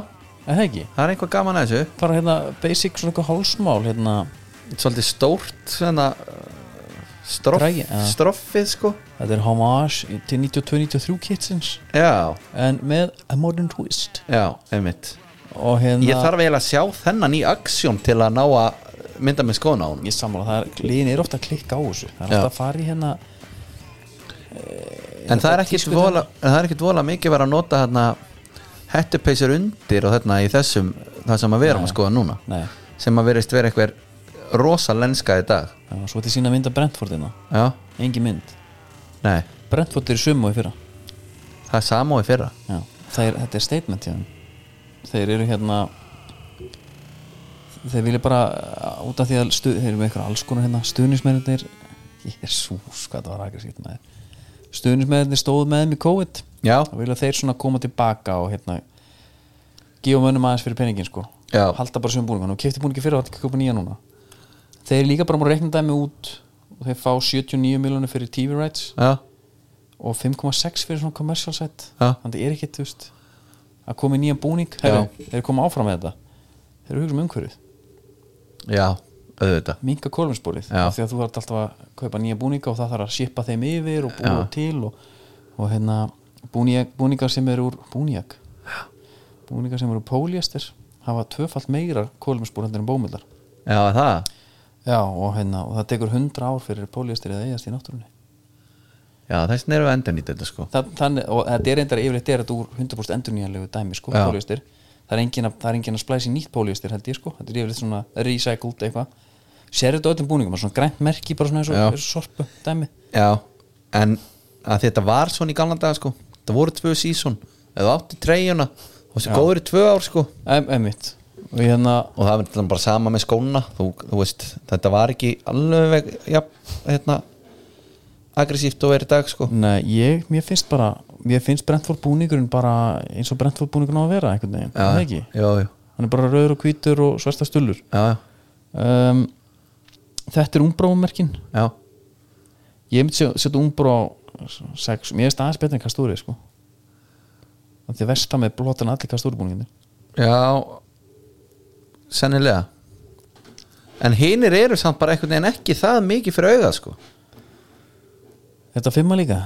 er það ekki, það er einhver gaman að þessu bara hérna basic svona eitthvað hálsmál hérna svolítið stórt svona, uh, stroff, Dragi, já. stroffið sko Þetta er homage til 92-93 kitsins já, En með a modern twist já, einmitt Og hérna ég þarf eiginlega að sjá þennan í aksjón til að ná að mynda með skóna á hún Ég sammála, það er, liðin er ofta að klikka á þessu Það er Já. ofta að fara í hérna en það er ekkit tískudag. vola, en það er ekkit vola mikið verið að nota hérna hettupeysir undir og þarna í þessum það sem að vera að skoða núna Nei, sem að verist vera einhver rosa lenska í dag já, svo til sína mynda Brentfordina já, Engi hérna. mynd nei, Brentford er í sumu í fyrra það er sama og í fyrra já. Þeir, Þetta er statement hjá þeim Þeir eru hérna Þeir vilja bara uh, út af því að stu, þeir eru með eitthvað alls konar hérna stuðnismennir Jésús, hvað það var aggressíft með þeir Stuðnismennir stóðu með þeim í COVID já, þá vilja þeir svona koma tilbaka og hérna gefa mönnum aðeins fyrir penningin sko Já. halda bara sögum búningan og kefti búningi fyrir og alltaf köpa nýja núna þeir líka bara múið reikna dæmi út og þeir fá 79 miljonir fyrir TV rights já, og 5,6 fyrir svona commercial set Já. þannig það er ekkit, þú veist að koma í nýjan búning, herri, þeir koma áfram með þetta þeir eru hugsa um umhverfið já, auðvitað minka kolminsbólið Já. því að þú þarf alltaf að kaupa nýja búninga og það þarf að shipa þeim yfir og búa til og, og hérna búningar, búningar sem eru úr búningar búningar sem eru úr póliester hafa tvöfalt meira kolminsból heldur en bómullar já, það, já og hérna og það tekur 100 ár fyrir póliester eða eigast í náttúrunni já, þessin erum við endur nýtt þetta sko Þa, þannig, og þetta er reyndar yfirleitt er þetta úr 100% endurnýjanlegu dæmi sko, Já. póliester það er engin að, það er engin að splæsi nýtt póliester held ég sko, þetta er yfirleitt svona recycled eitthvað, sér þetta á öllum búningum það er svona grænt merki bara svona eins og, Já. eins og sorpu dæmi, Já, en að þetta var svona í gamla daga sko Það voru tvö sísón, eða átti treyjuna og þessi góður í tvö ár sko em, emitt og hérna, og það var þetta bara sama með skóna þú, þú veist, þetta var ekki alveg ja, hérna aggressíft og er í dag sko nei, ég, mér finnst bara mér finnst Brentford búningurinn bara eins og Brentford búningurinn á að vera einhvern veginn, það ekki, já, já, hann er bara rauður og hvítur og svarta stullur já, um, þetta er umbrámerkin já, ég myndi set- setja umbrú á 6, mér finnst aðeins betur en kastúri sko Af því að versta með blótan allir kastúribúninginni já sennilega en hinir eru samt bara einhvern veginn ekki það mikið fyrir auga sko þetta fimma líka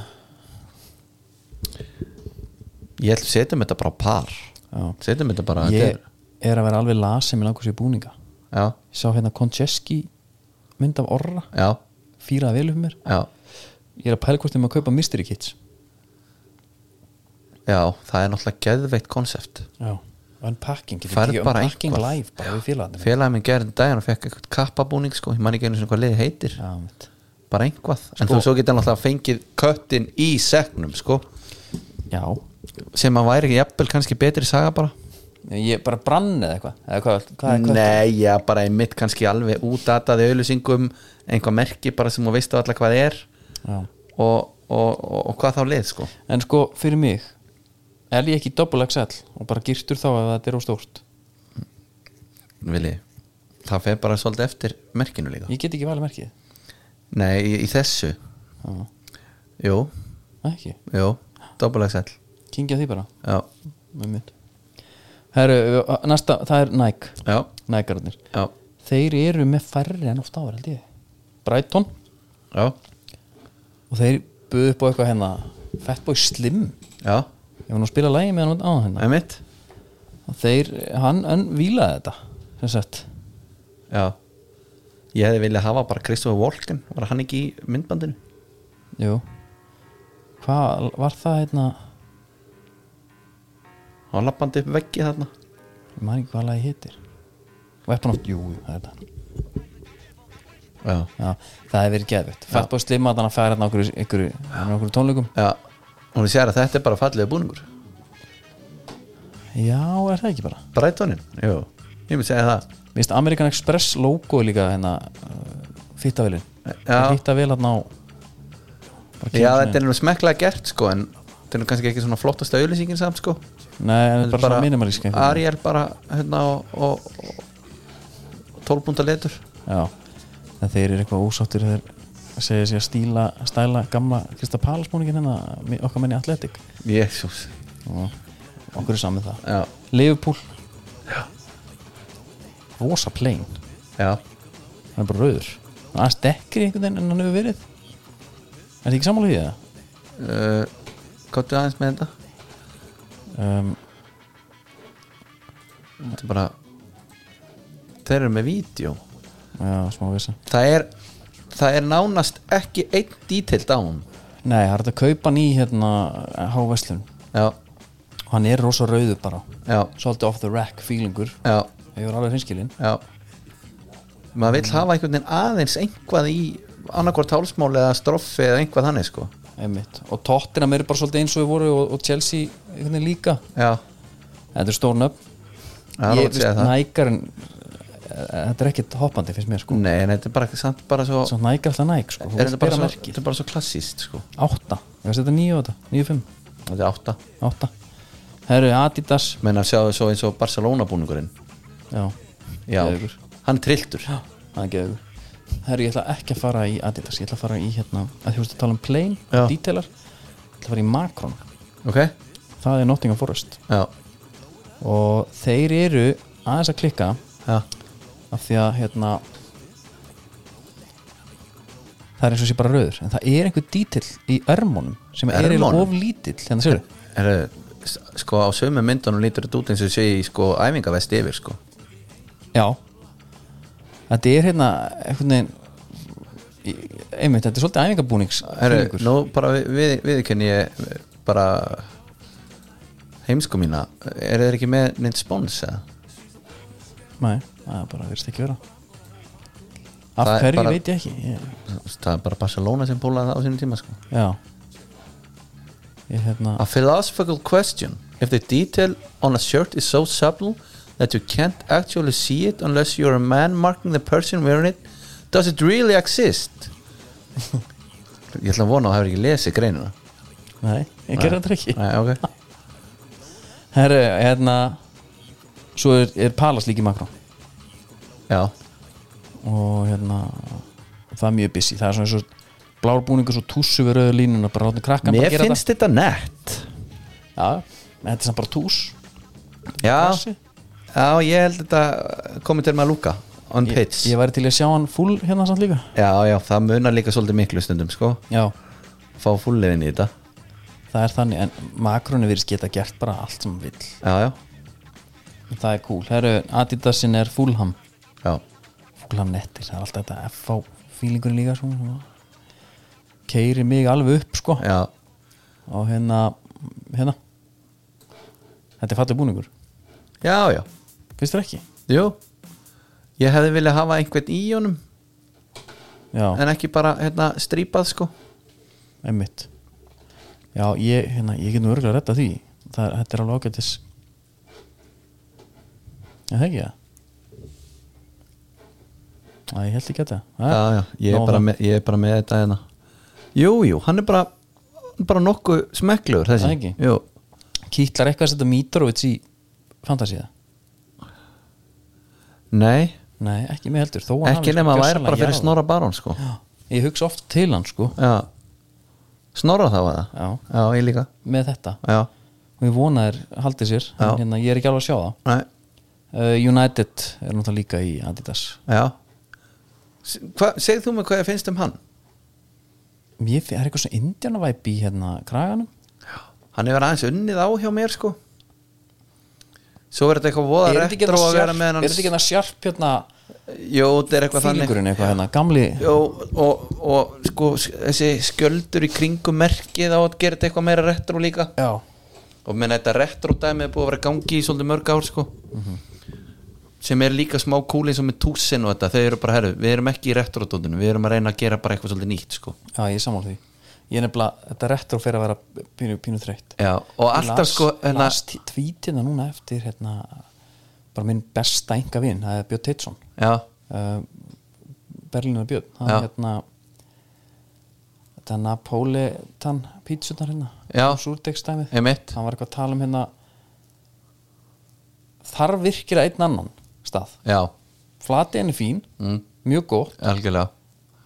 ég ætlum setjum um þetta bara á par Já. setjum þetta bara ég er að vera alveg lasin með langur sér búninga ég já, sá hérna Koncheski mynd af orra já, fýraði vel upp mér já ég er að pæla hvort þeim að kaupa mystery kits Já, það er náttúrulega geðveitt konsept já unpacking, getur Færð tekið bara unpacking eitthvað. live bara við félagarnir Félagið minn gerði um daginn og fekk eitthvað kappabúning sko, ég man ekki einu sinni hvað liði heitir Já, mitt. bara einhvað, en þú svo getur náttúrulega fengið köttin í segnum sko já, sem að væri ekki jafnvel kannski betri saga bara ég bara brann eða eitthvað eða hvað, hvað, hvað, Nei, já, bara einmitt kannski alveg útataði auðlýsingum, einhvað merki bara sem þú veist á alla hvað er Já. og, og, og, og hvað þá lið sko En sko, fyrir mig er ég ekki double XL og bara girtur þá ef þetta er á stórt Vili, það fer bara svolítið eftir merkinu líka Ég get ekki valið merkið Nei, í, í þessu Já. Jú, Nei, ekki, jú, dobbulagsæll kingja því bara Já, með mitt Herru, næsta, það er Nike já, Nike-arnir já Þeir eru með færri en oft áður, held ég Brighton Já, og þeir buðu upp á eitthvað hérna Fatboy Slim já, Ég var nú að spila lægi með hann á hérna einmitt og þeir, hann, hann vílaði þetta sem sagt Já Ég hefði viljað hafa bara Christopher Walken Var hann ekki í myndbandinu? Jú Hvað, var það hérna Hann lappandi upp veggi þarna Ég maður ekki hvað lagi hittir Weapon of Jú, jú, það er þetta Já, Já, það hefur verið geðvitt Fatboy Slim að hann að færa hérna á einhverju, einhverju, hann á einhverju tónleikum já Hún sér að þetta er bara fallega búningur Já, er það ekki bara Brightonin, jú Ég myndi segja það Mér finnst American Express logo líka hérna uh, Fýttavelin Já. Fýttavel hérna á Já, þetta er nú smekklega gert sko En þetta er nú kannski ekki svona flottasta auðlýsingin samt sko Nei, en þetta er bara, bara minimalísk einhvern veginn. Ariel bara hérna og, og, og, og tólbúnda letur Já, en þeir eru eitthvað ósáttir þeir segja sig að stíla stæla gamla Krista Palasmóningin hérna mi- okkar menni Atletik Jésús og okkur er saman með það Já, Liverpool Já Rosa plain já hann er bara rauður Hann er aðeins dekkri einhvern veginn en hann hefur verið er þetta ekki sammála því það? uh, Kottu aðeins með þetta Um, Þetta er bara Þeir eru með vídeo já, smá vissa Það er, það er nánast ekki einn dítilt á hún nei, það er hægt að kaupa hann í hérna háveslun Já, og hann er rosa rauður bara já, svolítið off the rack feelingur já, ég var alveg hinskilinn já Maður vill hafa einhvern veginn aðeins einhvað í annarkvort tálsmáli eða stroffi eða einhvað þannig sko einmitt. og tóttina mér er bara svolítið eins og við voru og, og Chelsea einhvern veginn líka Já, þetta er stórn upp það er ég alveg að veist segja það nækarinn eh, þetta er ekkit hoppandi finnst mér sko Nei, en þetta er bara, samt bara svo, svo nækar alltaf næk sko þú Mm. vilt er þetta, bara bera svo merkið. þetta er bara svo klassíst sko átta, ég veist þetta er níu átta, níu fimm Þetta er átta átta, það eru Adidas Menna sjáðu svo eins og Barcelona búningurinn já, Já, Geðveikur. hann er trilltur Já, það er geður Herru, ég ætla ekki að fara í Adidas, ég ætla að fara í hérna, að þú veist að tala um plane, Já. detailar ég ætla að fara í Macron, ok það er Nottingham Forest Já, og þeir eru aðeins að klikka já, af því að hérna það er eins og sé bara rauður en það er einhver dítill í örmónum sem er eiginlega Örmunum? of lítill hérna sér er, sko á sömu myndunum lítur þetta út eins og sé í sko æfingavesti yfir sko já þetta er hérna einhvern veginn í- einmitt, þetta er svolítið æfingabúnings Herru, nú bara við, við, viðurkenni ég bara heimsku mína er þeir ekki með neitt spons eða? nei, það er bara verðist ekki vera af Það er hverju bara- veit ég ekki ég, Þú veist, það er bara Barcelona sem bólaði það á sínum tíma sko já ég hérna A philosophical question if the detail on a shirt is so subtle that you can't actually see it unless you're a man marking the person wearing it does it really exist ég ætla að vona að það hefur ekki lesið greinina nei, ég gerði þetta ekki Nei, ok. herru, hérna svo er, er Palas líki makrón já, og hérna það er mjög busy, það er svona eins og blár búningur svo tússu við rauðu línuna bara ráðnum krakkan bara mér gera finnst þetta nett þetta já, en þetta er samt bara tús já, Klassi. já, ég held þetta komið til með að lúka on ég, pitch ég væri til að sjá hann full hérna samt líka já, já, það munar líka svolítið miklu stundum sko, já, fá fúllið inn í þetta það er þannig en makroni virðist geta gert bara allt sem hann vill já, já, það er cool, herru, Adidasin er fullham já fullham nettir, það er alltaf þetta FH fílingurinn líka svona, svona keiri mig alveg upp sko já, og hérna, hérna þetta er fallið búningur já, já finnst þér ekki? Jú Ég hefði viljað hafa einhvern í honum já En ekki bara hérna strípað sko einmitt já, ég, hérna, ég get nú örgulega að redda því það, er- þetta er alveg ágætis já, það ekki það Æ, ég held ekki þetta Æ, Já, já, ég er, nóg bara það. með, ég er bara með þetta hérna Jú, jú, hann er bara bara nokkuð smekklugur þessi Það ekki? Jú, Kitlar eitthvað að setja Mitrovic í fantasíða? nei, Nei, ekki mig heldur, þó að hann ekki hafi nema að væri gjörsamlega bara fyrir jarðað. Snorra Barón sko Já, Ég hugsa oft til hann, sko, Já Snorra það var það Já. já ég líka með þetta Já, og ég vona þér haldið sér, Já. en hérna, ég er ekki alveg að sjá það nei, uh, United er náttúrulega líka í Adidas já S- Hva, Segð þú mig hvað ég finnst um hann? Mér fi- það er eitthvað svona indianavæp í hérna kraganum Hann hefur aðeins unnið á hjá mér sko Svo er þetta eitthvað voða er þetta ekki retro að vera hérna sjarp með hann er þetta ekki hérna sjarp hérna Jú, þetta er eitthvað þannig fílingurinn eitthvað hérna gamli Jó, og, og sko þessi skjöldur í kringum merkið á að gera þetta eitthvað meira retro líka já og menn þetta retro dæmi er búið að vera í gangi í svolítið mörg ár sko Mhm. sem er líka smá kúli eins og með túsin og þetta, þau eru bara herru, við erum ekki í retrodótinu, við erum að reyna að gera bara eitthvað svolítið nýtt sko já ég er sammála því ég er nefnilega þetta retro fyrir að vera pínu, pínu þreytt Já, og alltaf las, sko hérna, las tí- tweetina núna eftir hérna bara minn besta enga vin það er Björn Teitsson já, uh, Berlínar Björn hann Já. hérna þetta Napolitan pítsunar hérna Já. súrdegstæmið Einmitt. hann var eitthvað að tala um hérna þar virkir að einn annan stað já, Flatiðin er fín, Mm. mjög gott algjörlega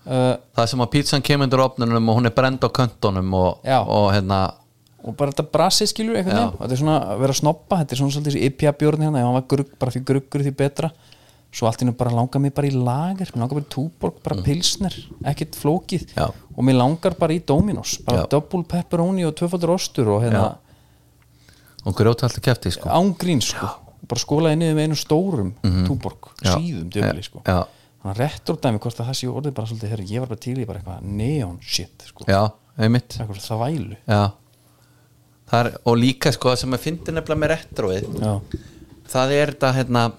uh, það sem að pítsan kemur undir opnunum og hún er brend á köntunum og, Já. og hérna, og bara þetta brasi skilur einhvern veginn Já. og þetta er svona að vera að snoppa, þetta er svona svolítið þessi IPA bjórn hérna, ef hann var grugg, bara fyrir gruggur því betra svo allt í nú bara langar mig bara í lager mér langar bara í túborg, bara pilsner ekkert flókið Mm. Já. og mér langar bara í Dominos bara Já. double pepperoni og tvöfaldur ostur og hérna og grjóta alltaf kæfti sko ángrín sko bara skólaði niður með einu stórum túborg, Mhm. Já. síðum dömli sko Já. hann réttur dæmi hvort að það sé orðið bara svolítið herri, ég var bara til í bara eitthvað neon shit sko, já, einmitt eitthvað þvælu já. Það Er, og líka sko það sem að fyndi nefnilega með retroið já, það er þetta hérna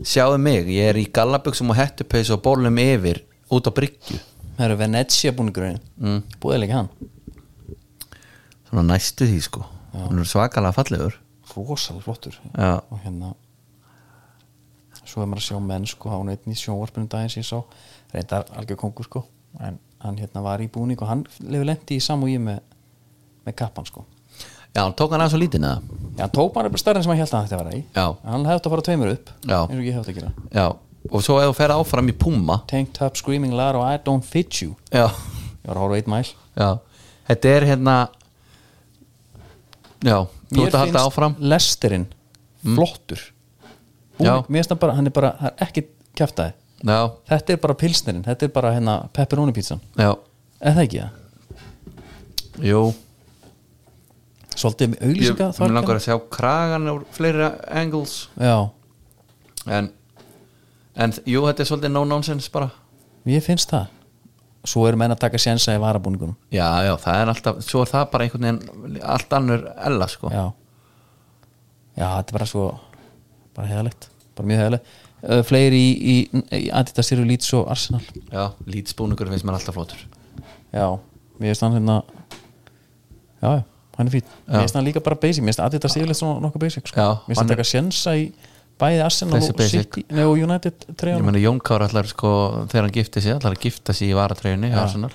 sjáðu mig, ég er í gallabuxum og hettupeis og bólum yfir út á bryggju það eru Venezia búningurinn mm. búið líka hann, svona næstu því sko hún er svakalega fallegur rosalega flottur já, og hérna svo er maður að sjá menn sko hann einn í sjónvarpinu daginn sem ég sá reyndar algjör kongur sko en hann hérna var í búning og hann lefur lendi í samúi með, með kappan sko já hún tók hann aðeins og lítið neða já, hann tók bara bara stærri en sem hann held að hann ætti að vera í Já. hann hefði átt að fara tveimur upp Já. eins og ég hefði átt að gera já, og svo ef þú fer áfram í Puma tank top screaming loud og I don't fit you já, ég var að horfa á eitt mæl já, þetta er hérna já, þú ert að halda áfram Mm. lesterinn flottur Já. búning, mér finnst hann bara, hann er bara hann er ekki kæftæði já, þetta er bara pilsnerinn, þetta er bara hérna pepperoni pizzan, já, er það ekki það? jú svolítið með ég auglýsinga mér langar að sjá kragan úr fleira angles já, en, en jú, þetta er svolítið no nonsense bara ég finnst það svo eru menn að taka sénsa í varabúningunum já, já, það er alltaf, svo er það bara einhvern veginn allt annur ella, sko já já, þetta er bara svo bara heðalegt, bara mjög heðalegt uh, fleiri í, í, í Adidas eru Leeds og Arsenal já lítspúningur finnst mér alltaf flótur já, mér finnst hann hérna já, já, hann er fýtt mér finnst hann líka bara basic, mér finnst Adidas yfirleitt svona nokkuð basic sko. Já, mér finnst hann hann er- taka sénsa í bæði Arsenal Þessi og, basic. City, nei, og United ég treyjanum meni Jón Kár allar, sko, þegar hann gifti sig allar að gifta sig í varatreginni, Arsenal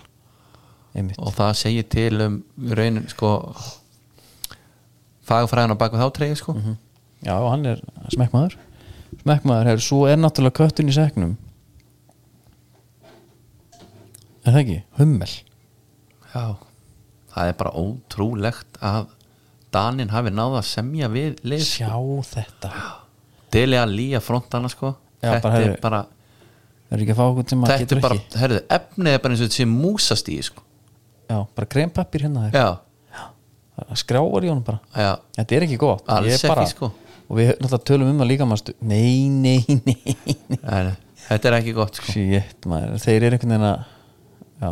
einmitt, og það segir til um raunin, sko fagfræðan á baku þá tregi, sko já, og hann er smekkmaður smekkmaður, hefur, svo er náttúrulega köttun í segnum er það ekki? Hummel já, það er bara ótrúlegt að Danin hafi náða að semja við lið, sjá þetta deli að lýja frontana, sko Já, þetta bara er hefur- bara er ekki að fá okkur sem maður þetta getur er bara, ekki herðu, efnið er bara eins og þetta sé músast í, sko já, bara krempappir hérna þér já, Það skráar í honum bara já, þetta er ekki gott Alls Ég er bara, ekki, sko. og við náttúrulega tölum um það líka maður stu nei, nei, nei, nei. Nei, nei, þetta er ekki gott sko. shit maður, þeir eru einhvern veginn að já,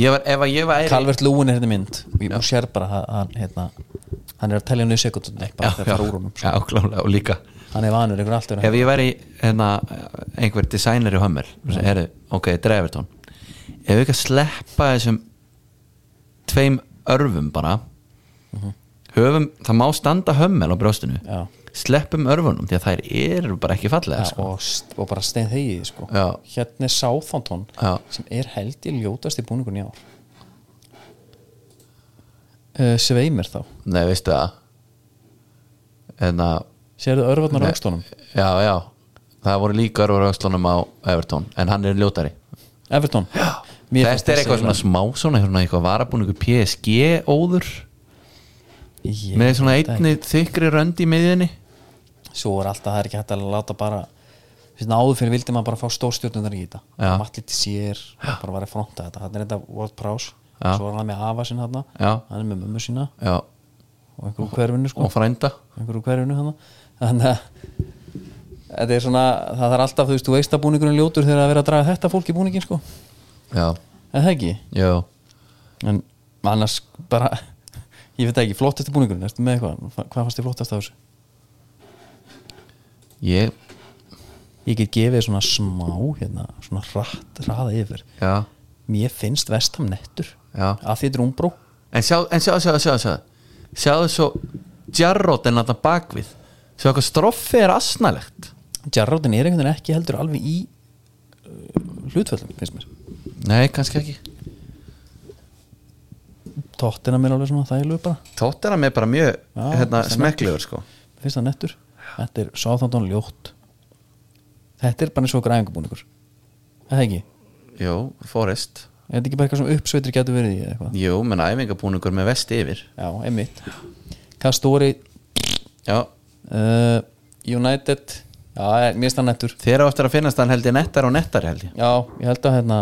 ég var, ef að ég var eiri, Calvert Lúin er hérna mynd og ég og sér bara að hann hérna, hann er að telja niður sekundum bara þegar fara úr honum sko. já, klálega, og líka hann er vanur einhver alltaf ef ég væri hérna, einhver designer í Hummel er, ok, Drevertón ef við ekki að sleppa þessum tveim örfum bara höfum, það má standa Hummel á brjóstinu Mhm. Já. sleppum örfunum því að þær eru bara ekki fallega Já, sko. og, st- og bara stein þegið sko. Já. hérna er Southampton Já. sem er held í ljótast í búningun í ár uh, sveimir þá nei, veistu það en að sérðu örfarnar Nei. aukstónum já, já, það voru líka örfur öxlunum á Evertón, en hann er ljótari Everton Mér finnst Þetta er eitthvað svona þessi- smá svona hérna eitthvað varabúningu PSG óður Ég með svona veit einni þykri rönd í miðinni ekki. svo er alltaf það er ekki hægt að láta bara svona áður fyrir vildi maður bara fá stórstjórnundar í þetta Já. matli til sér bara var að fronta þetta hann er þetta World Prowse Já. svo var hann með afa sinna hann Já. hann er með mömmu sína Já, og einhverjum hverfinu sko og frænda einhverju hverfinu hann þannig að þetta er svona, það þarf alltaf, þú veist, þú veist að búningurinn er ljótur þegar það er verið að draga þetta fólk í búningin sko, Já, en það ekki já en annars bara ég veit ekki, flottast í búningurinn, erstu með eitthvað Hva- hvað fannst þið flottast af þessu? Ég, Ég get gefið þér svona smá hérna, svona rætt, ræða yfir já mér finnst vestam nettur Já. að því þetta er umbró En sjá, en sjá, sjá, sjá, sjá Sjáðu svo Jarrod en þetta bakvið Sjá hvað stroffi er asnalegt Jarrodin er einhvern veginn ekki heldur alveg í uh, hlutföllum, finnst mér Nei, kannski ekki tóttina mér alveg svona þægilegu bara Tótt er hann með bara mjög Já, hérna, sem smekklegur sko Mér finnst það nettur Þetta er sáþandón ljótt Þetta er bara eins og græðingabúningur Það ekki Er Jú, Forrest þetta ekki bara eitthvað sem uppsveitir getur verið í eða eitthvað Jú, menn æfingabúningur með vesti yfir Já, einmitt Kastóri Já, uh, United Já, ég- mér stann nettur Þeir á eftir að finnast hann held ég nettar og nettar held ég Já, ég held að hérna,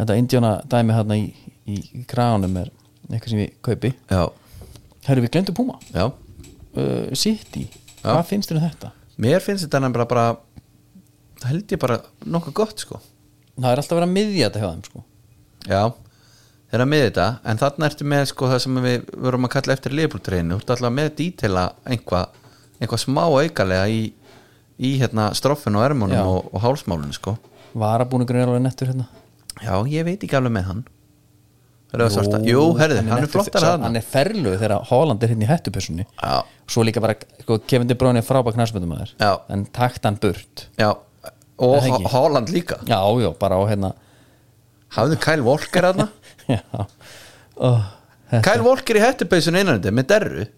þetta indjóna dæmi hérna í, í, í kránum er eitthvað sem ég kaupi Já, Herru, við glemdu Puma já uh, City, Já. hvað finnst þér um þetta? Mér finnst þetta nefnilega bara það held ég bara nokkuð gott sko Það er alltaf verið að miðja þetta hjá þeim sko Já, þeir eru að miða þetta en þarna ertu með sko það sem við vorum að kalla eftir liðbúltreinu, þú ert alltaf með dítela einhvað einhva smá aukalega í, í hérna stroffinu og ermunum Já. og, og hálsmálinu sko Varabúningur er alveg nettur hérna Já, ég veit ekki alveg með hann Jú, Jú herðu, hann, er nettur- flottar sá- hann Hann er ferluð þegar Holland er hérna í hættupersonni Já. Svo líka bara, sko, Kevin De Bruyne er frábæk nærsmyndumæður Já. En takt hann burt Já, Er og það ekki? Há- Haaland líka Já, já, bara á hérna Hafðu Kyle Walker hann Já, Ó, þetta- Kyle Walker í hættupeysun innan þetta með derru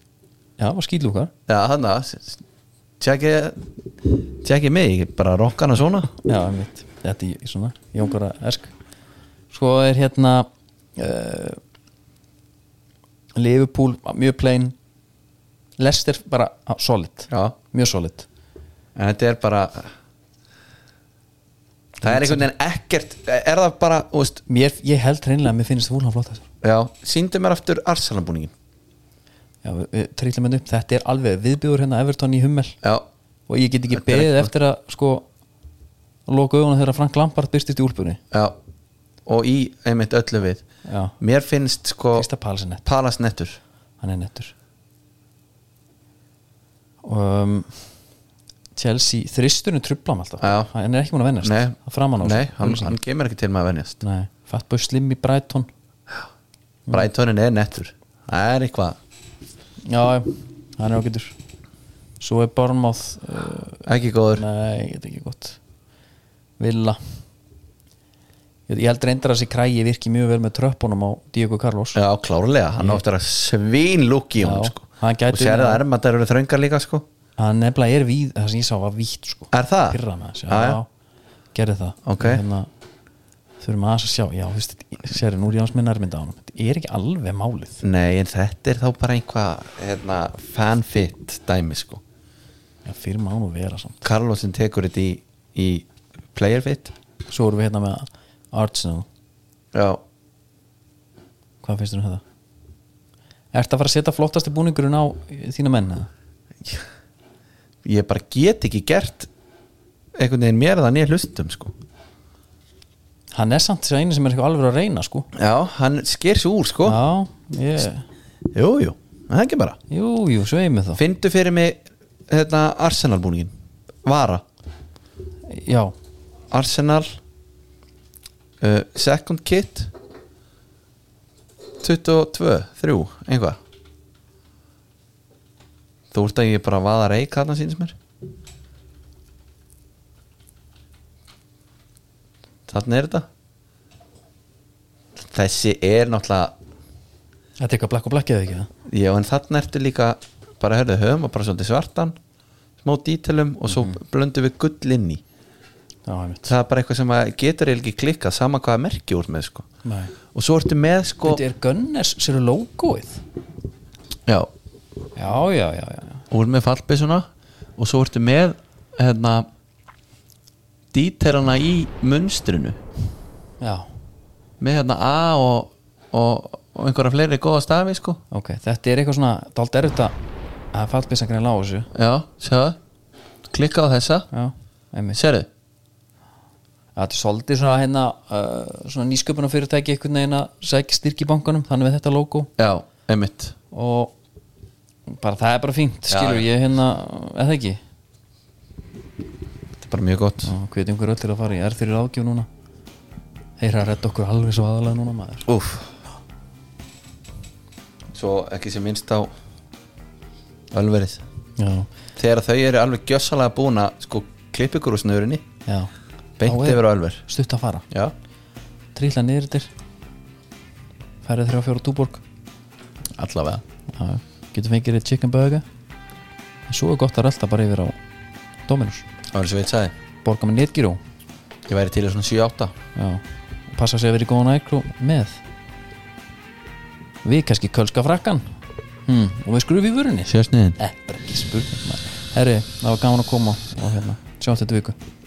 já og skýtlúkar Já, hann að Tjekki Tjekki mig, ég bara rokka hana svona Já, mitt, þetta er í- svona Jónkara esk Svo er hérna uh, Liverpool, mjög plain Lester bara á, solid Já Mjög solid en þetta er bara það er einhvern veginn ekkert er það bara, þú veist Mér, Ég held reynilega að mér finnst fúlan flott þessar já, síndu mér aftur Arsalanbúningin Já, við, við trillum henni upp Þetta er alveg viðbjóður hérna Everton í Hummel já, Og ég get ekki Þetta er beðið eitthvað. eftir að sko Loka auðvona þegar Frank Lampard byrstist í úlpunni já og í einmitt öllu við Já. mér finnst sko Fyrsta palasinett Palas nettur hann er nettur um, Chelsea þristurinn trubla hann alltaf Já. hann er ekki múin að vennast nei, það er framan á nei, þessu. hann, Auglýsing. hann kemur ekki til maður að venjast nei, Fatboy Slim í Brighton Mm. Brightonin er nettur það er eitthvað, já, hann er ágætur svo er Bournemouth uh, ekki góður nei, þetta er ekki gott Villa ég, ég held reyndar að þessi krægi virki mjög vel með tröppunum á Diego Carlos já, klárlega, hann áttur að svín lúk í Já, hún sko. hann gæti og sér unnið það hann. ermatar eru þröngar líka sko hann nefnilega er víð, það sem ég sá var vítt sko. Er það? Pirra með þessu, Ah. Já, já. já, gerði það hérna, Ok. þurfum aðeins að sjá já, þú veist, sér, nú er ég hans með nærmynda á hann þetta er ekki alveg málið nei, en þetta er þá bara einhvað hérna, fanfit dæmi sko já, fyrir má nú vera samt Karlosin tekur þetta í, í playerfit svo erum við hérna með Arsenal já. hvað finnst þér um þetta? Ertu að fara að setja flottasti búningurinn á eh, þína menn? eða? ég bara get ekki gert einhvern veginn mér það nýja hlustum sko. Hann er samt þessi einu sem er eitthvað alveg að reyna sko. já, hann sker sér úr sko. Já, ég, jú, jú, það er ekki bara jú, jú, svo einu þá fyndu fyrir mig hérna, Arsenal búningin Vara, Já, Arsenal uh, second kit 22, 3, einhvað þú ert að ég bara vaða reik þarna síns mér þarna er þetta þessi er náttúrulega þetta er eitthvað blakk og blakkið ekki það? já en þarna ertu líka bara hörðu höfum og bara svolítið svartan smá dítilum og svo blöndum við gull inn í Já, einmitt það er bara eitthvað sem að getur eiginlega ekki klikkað sama hvaða merki úr með sko Nei. og svo ertu með sko Þetta er Gunners, sér er logoið já, Já, já, já, já. úr með fallbissuna og svo ertu með hérna dítelana í munstrinu já með hérna A og, og, og einhverja fleiri góða stafi sko ok, þetta er eitthvað svona dalt erut að að fallbissan greið lág þessu já, sjáðu, klikka á þessa já, einmitt sérðu, þetta er svolítið svona hérna uh, svona nýsköpuna fyrirtæki einhvern veginn að sækja styrki í bankanum þannig við þetta logo já, einmitt og bara það er bara fínt skilur já. ég hérna, eða ekki þetta er bara mjög gott og hvetjum hver öll til að fara í R3 ágjöf núna heyra að redda okkur alveg svo aðalega núna maður úf svo ekki sem minnst á ölverið já, þegar þau eru alveg gjössalega búin að sko klippa ykkur úr snörinni já, beint Já, er- yfir á elver stutt að fara já, trýla niður yfir færið þrjá fjóra túborg allavega Já, getur fengið þér chicken burger en svo er gott að rölda bara yfir á Dominus, það var eins og ég sagði borga með netgíró ég væri til í svona 7-8 já, og passa sig að vera í góðan ækrú með við kannski kölska frakkan hm, og við skrufum í vörunni sjösniðin Eh, bara ekki spurning maður. Herri, það var gaman að koma og hérna, sjátt þetta viku